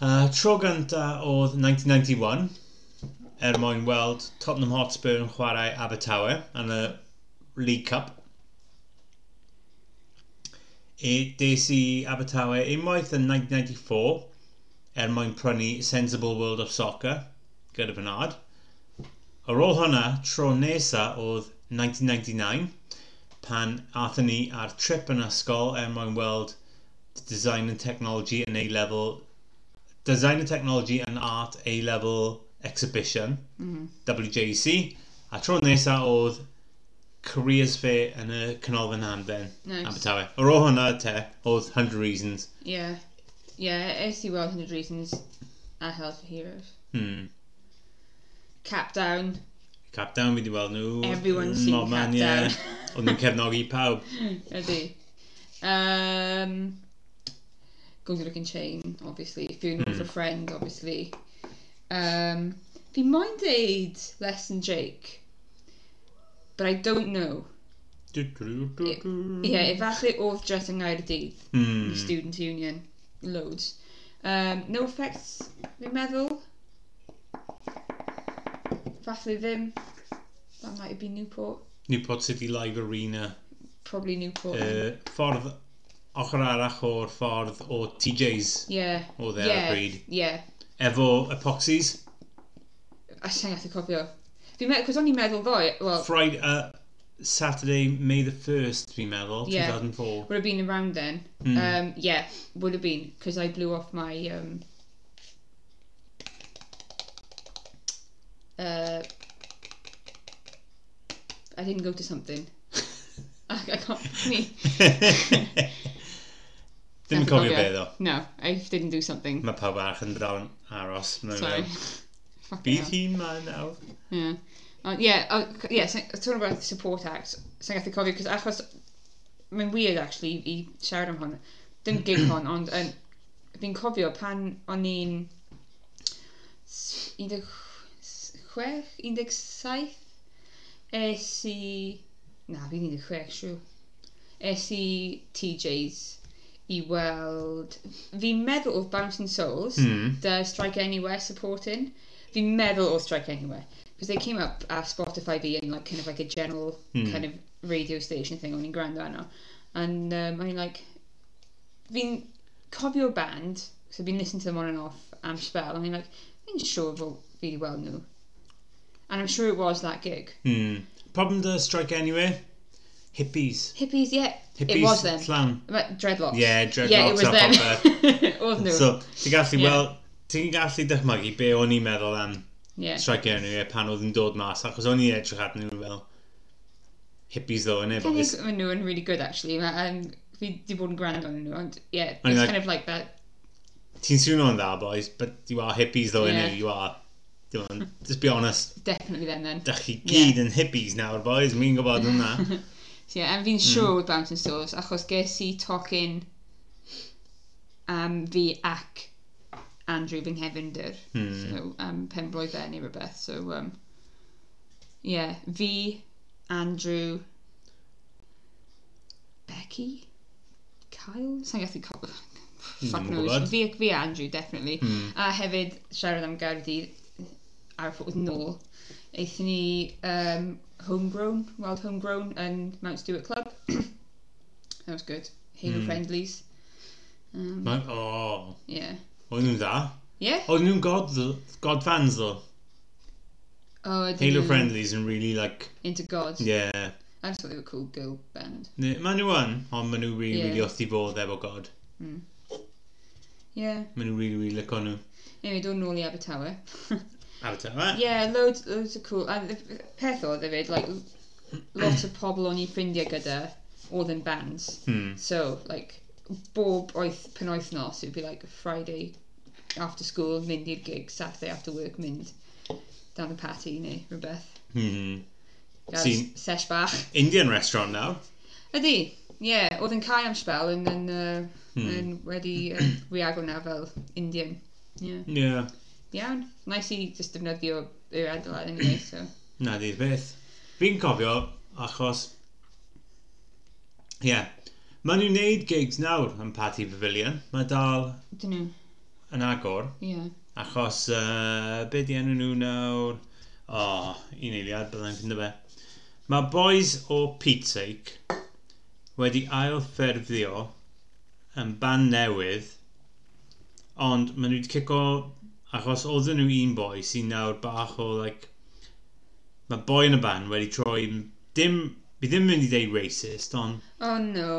S1: Uh, tro gyntaf oedd 1991, er mwyn weld Tottenham Hotspur yn chwarae Abertawe yn y League Cup. E, des i Abertawe unwaith yn 1994, er mwyn prynu Sensible World of Soccer, gyda Bernard. Ar ôl hwnna, tro nesa oedd 1999, pan athyn ni ar trip yn ysgol er mwyn weld design and technology yn A-level design and technology and art A-level exhibition WJC a tro nesa oedd careers fair yn y canolfan hamdden
S2: Nice.
S1: Abertawe ar ôl hwnna te oedd 100 reasons
S2: Ie. Ie, es i weld 100 Reasons a Hell for Heroes.
S1: hmm.
S2: Cap Down.
S1: Cap Down wedi weld nhw
S2: Everyone's seen
S1: mm, Mob Man,
S2: Cap
S1: ie.
S2: Down.
S1: Oedd nhw'n cefnogi pawb
S2: Hmm, Ydy. Um, Golden Looking Chain, obviously. Funeral for a Friend, obviously. Um, fi moyn deud Less Than Jake. But I don't know.
S1: Dw- dw- dw- dw-
S2: Ie, yeah, efallai oedd just yng Nghaerdydd.
S1: Hmm.
S2: Student Union. Loads. Um, no effects, fi'n meddwl. Fathlu ddim. That might have been Newport.
S1: Newport City Live Arena
S2: Probably Newport. then.
S1: uh, ffordd ochr arall o'r ffordd o TJ's
S2: yeah.
S1: o there yeah.
S2: Yeah.
S1: bryd.
S2: Yeah.
S1: Efo epoxys,
S2: A sy'n gallu cofio. Fi'n meddwl, cos o'n i'n meddwl ddoe, well,
S1: Friday, uh, Saturday, May the 1st, fi'n meddwl,
S2: Ie.
S1: 2004.
S2: would have been around then.
S1: [laughs] Mm.
S2: Um, yeah, would have been, because I blew off my, um, uh, I didn't go to something. [laughs] I, I can't, me.
S1: Ddim yn cofio be ddo.
S2: No, I didn't do something.
S1: Mae pawb arach yn dal yn aros. mewn
S2: Sorry. [laughs]
S1: mewn.
S2: Fucking hell.
S1: Bydd hi'n ma nawr?
S2: Yeah. Uh, yeah, uh, c- yeah, so- talking about the support act, sa'n gallu cofio, cos achos, mae'n weird actually i siarad am hwn, dim gig hon, ond um, fi'n cofio pan o'n i'n s- 16, 17, es i, na fi'n 16 siw, es i TJ's i weld, fi'n meddwl oedd Bouncing Souls,
S1: Hmm.
S2: the Strike Anywhere supporting. Fi'n meddwl oedd Strike Anywhere. Because they came up at Spotify fi in like kind of like a general
S1: Hmm.
S2: kind of radio station thing o'n i'n gwrando arno. And um, o'n i'n like, fi'n cofio band, so fi'n listen to them on and off am spell, and I'm like, fi'n siŵr fod fi wedi weld nhw. And I'm sure it was that gig.
S1: Hmm. Problem dy strike anyway? Hippies.
S2: Hippies, yeah,
S1: Hippies
S2: it was them.
S1: Clan.
S2: About dreadlocks.
S1: Yeah, dreadlocks
S2: Yeah, it was
S1: a
S2: them. [laughs] oedd nhw.
S1: So, ti'n gallu,
S2: Ie.
S1: wel, ti'n gallu dychmygu be o'n i'n meddwl am
S2: yeah.
S1: strike anyway pan oedd yn dod mas, achos o'n i'n edrych at nhw fel hippies ddo, yn e,
S2: Kind
S1: boys.
S2: of maen nhw yn really good actually. Ma, um, fi di bod yn grand on nhw, ond yeah, it's
S1: Ond like-
S2: kind of like that.
S1: Ti'n sŵn o'n dda, boys, but you are hippies ddo, yeah.
S2: Yeah.
S1: innit? You are. Come on, just be honest.
S2: Definitely then then.
S1: Dach chi gyd yn hippies nawr, boys. Mi'n gwybod hwnna.
S2: [laughs] So yeah, and fi'n siŵr mm. Bouncing Souls, achos ges i tocyn um, fi ac Andrew fy nghefnder.
S1: Hmm.
S2: So, um, pen blwyddau neu rhywbeth. So, um, yeah, fi, Andrew, Becky, Kyle? Sa'n gallu co- Fuck
S1: Ddim yn
S2: knows.
S1: gwbod.
S2: Fi, fi a Andrew, definitely.
S1: Hmm.
S2: A hefyd, siarad am Gaerdydd, ar y ffordd nôl, eithon ni um, homegrown, wild homegrown yn Mount Stewart
S1: [clears throat]
S2: Club. That was good. Halo
S1: Hmm.
S2: friendlies. Um,
S1: Ma- O,
S2: yeah.
S1: oedd nhw'n dda.
S2: Yeah?
S1: Oedd nhw'n god, god fans ddo.
S2: Oh, I
S1: Halo
S2: didn't-
S1: Friendlies yn really like,
S2: Into God.
S1: yeah.
S2: I just thought they were a cool girl band.
S1: Ne- Ma nhw yn, ond ma nhw really,
S2: Ie.
S1: really wrth i fod efo god.
S2: Yeah.
S1: Ma nhw really, really lico nhw.
S2: Anyway, dod nôl i Abertawe. [laughs]
S1: Ar y tefa.
S2: yeah, loads, loads of cool. And the peth oedd hefyd, like, lot of pobl o'n i ffrindiau gyda oedd yn bands.
S1: Hmm.
S2: So, like, bob oeth penwythnos, it would be like Friday after school, mynd i'r gig, Saturday after work, mynd dan y pati neu rhywbeth.
S1: Hmm.
S2: Gael
S1: Sy'n-
S2: sesh bach.
S1: Indian restaurant nawr.
S2: Ydy, ie, oedd yn cael am spel yn, yn, uh,
S1: Hmm.
S2: yn wedi uh, reago na fel Indian. Yeah.
S1: Yeah.
S2: Iawn, nice i just defnyddio yr adelaid anyway, so.
S1: Na, dydd beth. Fi'n cofio, achos Ie. Maen nhw'n neud gigs nawr yn Patti Pavilion. Mae dal
S2: Dyn nhw.
S1: yn agor.
S2: Ie.
S1: Achos, uh, be di enw nhw nawr? O, oh, un eiliad, byddai'n ffind fe. Mae boys o Peatsake wedi ailffurfio yn ban newydd, ond maen nhw wedi cico, achos oedden nhw un boi sy'n nawr bach o, like, mae boi yn y ban wedi troi, dim, fi ddim yn mynd i ddeud racist, ond
S2: Oh no.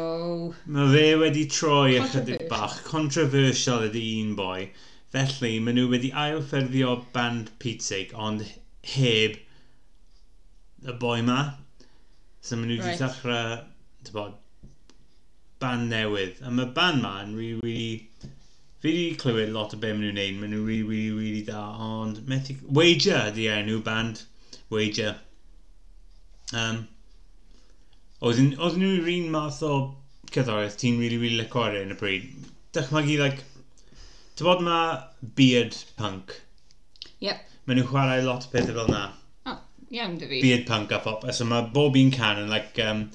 S1: Mae fe wedi troi ychydig
S2: Controversial.
S1: bach. Controversial ydy un boi. Felly, maen nhw wedi ailffurfio band Peatsig, ond heb y boi ma. So maen nhw wedi
S2: Right.
S1: right. dechrau, ti'n bod, band newydd. A mae band ma yn really, really... Fi wedi clywed lot o be maen nhw'n neud. Maen nhw'n really, really, really da. Ond, methu... Wager ydy enw band. Wager. Um, Oedden oedden nhw yr un math o cerddoriaeth ti'n really, really licio ar hyn y bryd. Dychmygu, like, ti'n bod ma beard punk.
S2: Yep.
S1: Maen nhw'n chwarae lot o pethau fel na.
S2: Oh, iawn dy fi.
S1: Beard punk a phop. So mae bob un can yn, like, um,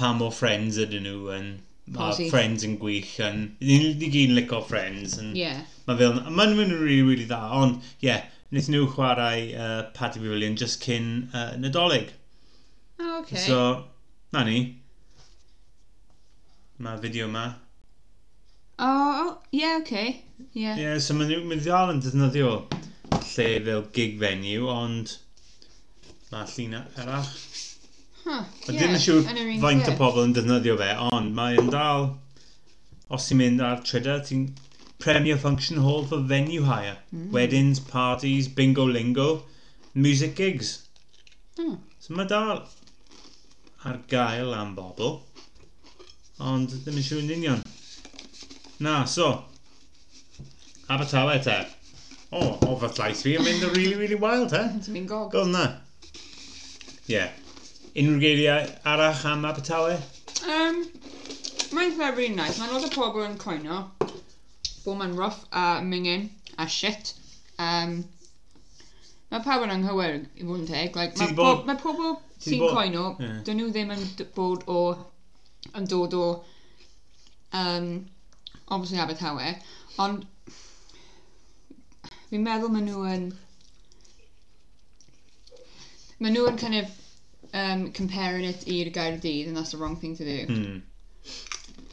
S1: pa mor friends ydyn nhw yn... Mae
S2: Posi.
S1: friends yn gwych yn... Ni'n ni gyd yn licio friends. Yn,
S2: Ie.
S1: Mae fel... a Maen nhw'n really, really dda. Ond, ie, yeah, wnaethon nhw chwarae uh, Paddy Pavilion just cyn uh, Nadolig.
S2: Oh, okay.
S1: So, na ni. Mae fideo yma.
S2: Oh, oh, yeah, okay. Yeah.
S1: Ie, yeah, so mae nhw mynd dal yn defnyddio lle fel gig venue, ond mae llun a- arach.
S2: Huh.
S1: Ond
S2: yeah.
S1: yeah, dim yn
S2: yn
S1: siŵr
S2: yr un
S1: faint o
S2: lle.
S1: pobl yn defnyddio fe, ond mae'n dal... Os ti'n mynd ar trydar, ti'n premier function hall for venue hire. Mm. Weddings, parties, bingo lingo, music gigs.
S2: Hmm.
S1: So mae dal ar gael am bobl, ond ddim yn siŵr yn union. Na, so, Abertawe te. O, oh, o fy llais fi yn mynd yn really, really wild, he?
S2: Dwi'n mynd gog.
S1: Gweld na? Ie. Yeah. Unrhyw geiriau arach am Abertawe?
S2: Um, mae'n fe really nice. Mae'n lot o pobl yn coino. Bo mae'n rough a mingin a shit. Um, mae pawb yn anghywir i fod yn teg. Like,
S1: Ti
S2: mae,
S1: di
S2: po
S1: bod-
S2: mae pobl
S1: ti di
S2: sy'n
S1: bod-
S2: coino,
S1: Ie.
S2: dyn nhw ddim yn d- bod o, yn dod o, um, obviously Abertawe, ond fi'n meddwl maen nhw yn, maen nhw yn kind of um, comparing it i'r Gaerdydd, and that's the wrong thing to do.
S1: Hmm.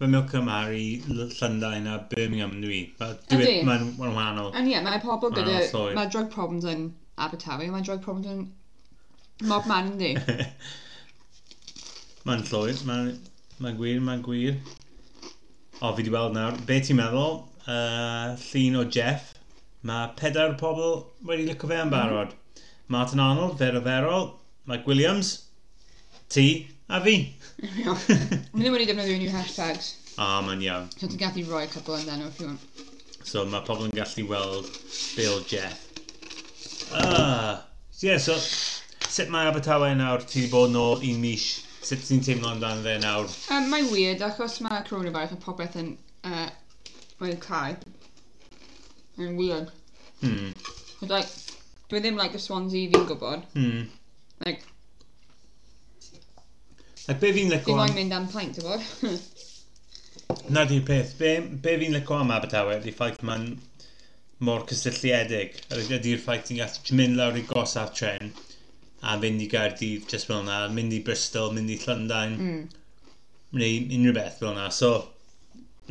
S1: Fy milk ymar i L- Llundain a Birmingham yn dwi.
S2: Ydi.
S1: Mae'n mae'n wahanol. [laughs]
S2: And yeah, mae pobl
S1: Mae
S2: gyda...
S1: hwnna'n swydd.
S2: Mae drug problems yn Abertawe, mae drug problems yn mob man yndi.
S1: Mae'n llwyr, mae'n ma gwir, mae'n gwir. O, fi wedi weld nawr. Be ti'n meddwl? Uh, llun o Jeff. Mae pedair pobl wedi licio fe yn barod. Martin Arnold, Vera Ferrell, Mike Williams, ti a fi. [laughs]
S2: Mae ddim wedi defnyddio unrhyw hashtags,
S1: A, mae'n iawn.
S2: so ti'n gallu roi cwbl yn then if you want.
S1: So mae pobl yn gallu weld Bill Jeff. Ah, yeah, so sut mae Abertawe nawr? Ti 'di bod nôl i mis. Sut ti'n teimlo amdano fe nawr?
S2: Um, mae'n weird, achos mae coronavirus a popeth yn... Uh, mae'n cael. Mae'n weird.
S1: Hmm.
S2: Ond, like, dwi ddim like y Swansea fi'n gwybod.
S1: Hmm.
S2: Like,
S1: Ac be fi'n
S2: fi
S1: licio
S2: moyn
S1: am...
S2: mynd am plaint, ti'n bod?
S1: Na di'r peth. Be, be fi'n licio am Abertawe ydy'r ffaith mae'n mor cysylltiedig. Ydy- Ydy'r ffaith ti'n gallu mynd lawr i gosaf tren a fynd i Gaerdydd just fel yna, mynd i Bristol, mynd i Llundain,
S2: Mm.
S1: neu unrhyw beth fel yna. So,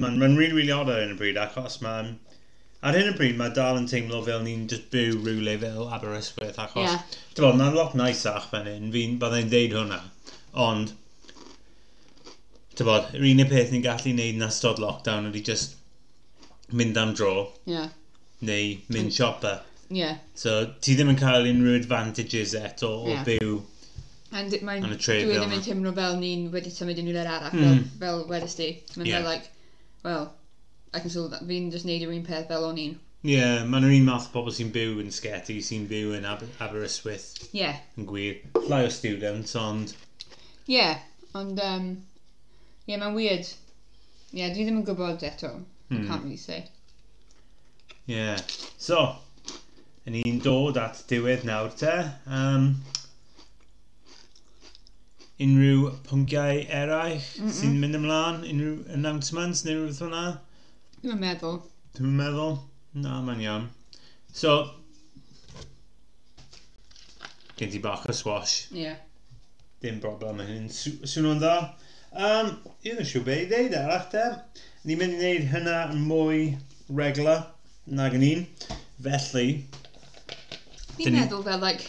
S1: mae'n ma really, really odd ar hyn y bryd, achos mae'n... Ar hyn y bryd, mae dal yn teimlo fel ni'n just byw rhywle fel Aberystwyth, achos...
S2: Ie.
S1: Yeah. Ti'n bod, mae'n lot naisach fan hyn, fi'n byddai'n deud hwnna. Ond, ti'n bod, yr unig peth ni'n gallu neud yn ystod lockdown ydy just mynd am dro,
S2: [laughs] Yeah.
S1: neu mynd siopa.
S2: Yeah.
S1: So, ti ddim yn cael unrhyw advantages eto o
S2: Ie.
S1: yeah. byw
S2: And it, mae'n...
S1: Yn y trade
S2: Dwi
S1: fel
S2: ddim yn
S1: yna.
S2: teimlo fel ni'n wedi symud unrhyw le arall,
S1: Mm.
S2: fel, fel wedys di. Mae'n
S1: Ie.
S2: fel, like, well, I can still... Fi'n just neud yr un peth fel o'n un.
S1: Ie, yeah, mae'n yr un math o pobl sy'n byw yn Sgeti, sy'n byw yn Aber Aberystwyth,
S2: Yeah.
S1: yn gwir. Llai o students, ond...
S2: Yeah. Ond, um... Yeah, mae'n weird. Yeah, dwi ddim yn gwybod eto. I
S1: Hmm,
S2: can't really say.
S1: Ie. Yeah. So, yn ni'n dod at diwedd nawr te. Um, unrhyw pynciau eraill sy'n mynd ymlaen, unrhyw announcements neu rhywbeth fel yna.
S2: Dwi'n meddwl.
S1: Dwi'n meddwl. Na, mae'n iawn. So, gen ti bach o swash.
S2: Ie.
S1: Dim broblem yn hyn. Sw- Swnio'n dda. Um, Ie, dwi'n siŵr be i ddeud arach te. Ni'n mynd i wneud hynna yn mwy regla nag yn un. Felly,
S2: Fi'n
S1: Dyn ni-
S2: meddwl fel, like,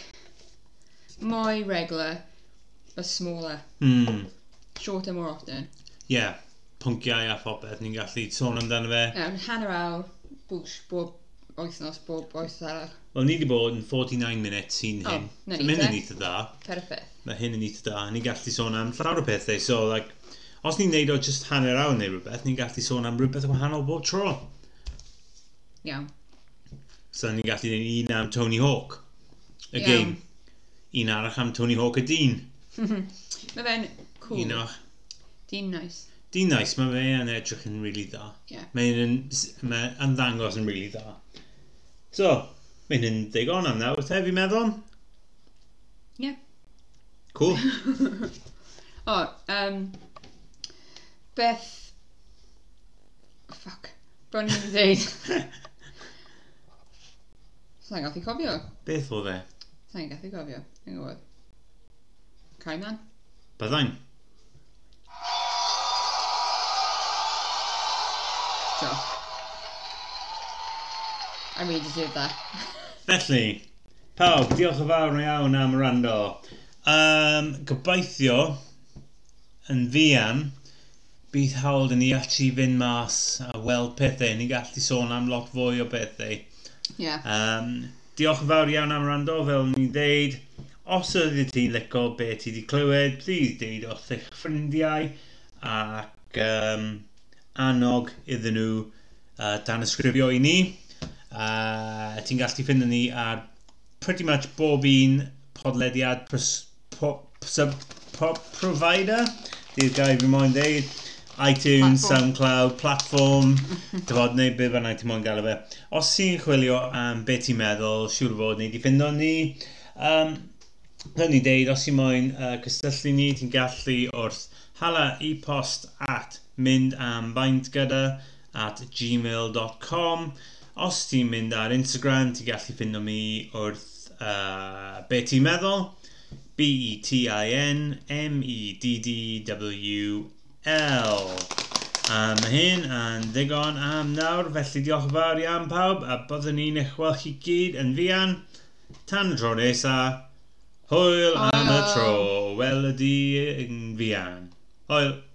S2: mwy regular, but smaller.
S1: hmm,
S2: Shorter more often.
S1: ie, yeah, pynciau a phopeth ni'n gallu sôn amdano fe.
S2: Um, hanner awr, bwys, bob wythnos, bob wythnos.
S1: Wel, ni wedi bod yn 49 munud sy'n
S2: O,
S1: hyn.
S2: na
S1: So, Mae hyn yn
S2: ni
S1: eitha dda.
S2: Perffaith.
S1: Mae hyn yn eitha da. Ni'n gallu sôn am llawer o pethau. So, like, os ni'n neud o just hanner awr neu rhywbeth, ni'n gallu sôn am rhywbeth wahanol bob tro.
S2: Iawn. [laughs]
S1: So, ni'n gallu neud un am Tony Hawk. Y
S2: Iawn.
S1: game. Un arall am Tony Hawk y dyn.
S2: Mae fe'n cool.
S1: Un arall.
S2: Di'n nice.
S1: Dyn nice, mae fe yn edrych yn really dda.
S2: Ie. [laughs]
S1: Mae hyn yn, mae yn ddangos yn really dda. So, mae hyn yn digon am nawr, te, fi'n meddwl?
S2: Ie.
S1: Cool. [laughs]
S2: O, um, beth... oh, Fuck. Bron i'n [laughs] dweud. Sa'n gallu cofio.
S1: Beth oedd e?
S2: Sa'n gallu cofio. Yn gwybod. Caiman?
S1: Byddain.
S2: So. I really deserve that.
S1: Felly, pawb, diolch yn fawr iawn am rando. Um, gobeithio, yn fian, bydd hawl yn ni ati fynd mas a weld pethau. Ni gallu sôn am lot fwy o bethau.
S2: Yeah.
S1: Um, diolch yn fawr iawn am rando, fel ni'n deud. Os ydy ti licio be ti wedi clywed, please deud wrth eich ffrindiau ac um, annog iddyn nhw uh, dan ysgrifio i ni. Uh, ti'n gallu ffeindio ni ar pretty much bob un podlediad pres, po, sub, po, provider. Di'r gair fi moyn ddeud. iTunes,
S2: Platform.
S1: SoundCloud, platform, dyfod neu beth fanna ti'n moyn galw e fe. Os ti'n chwilio am beth ti'n meddwl, siŵr o fod neu di ffindo ni. Um, Rwy'n ni deud, os i moyn uh, cystyllu ni, ti'n gallu wrth hala e-post at mynd am faint gyda at gmail.com Os ti'n mynd ar Instagram, ti'n gallu ffindo mi wrth uh, be ti'n meddwl E B-E-T-I-N-M-E-D-D-W-L A mae hyn yn ddigon am nawr, felly diolch yn fawr iawn pawb a byddwn ni'n eich weld chi gyd yn fian tan y tro nesaf Hwyl am y
S2: Hwyl.
S1: tro, wel ydi yn fian. Hwyl.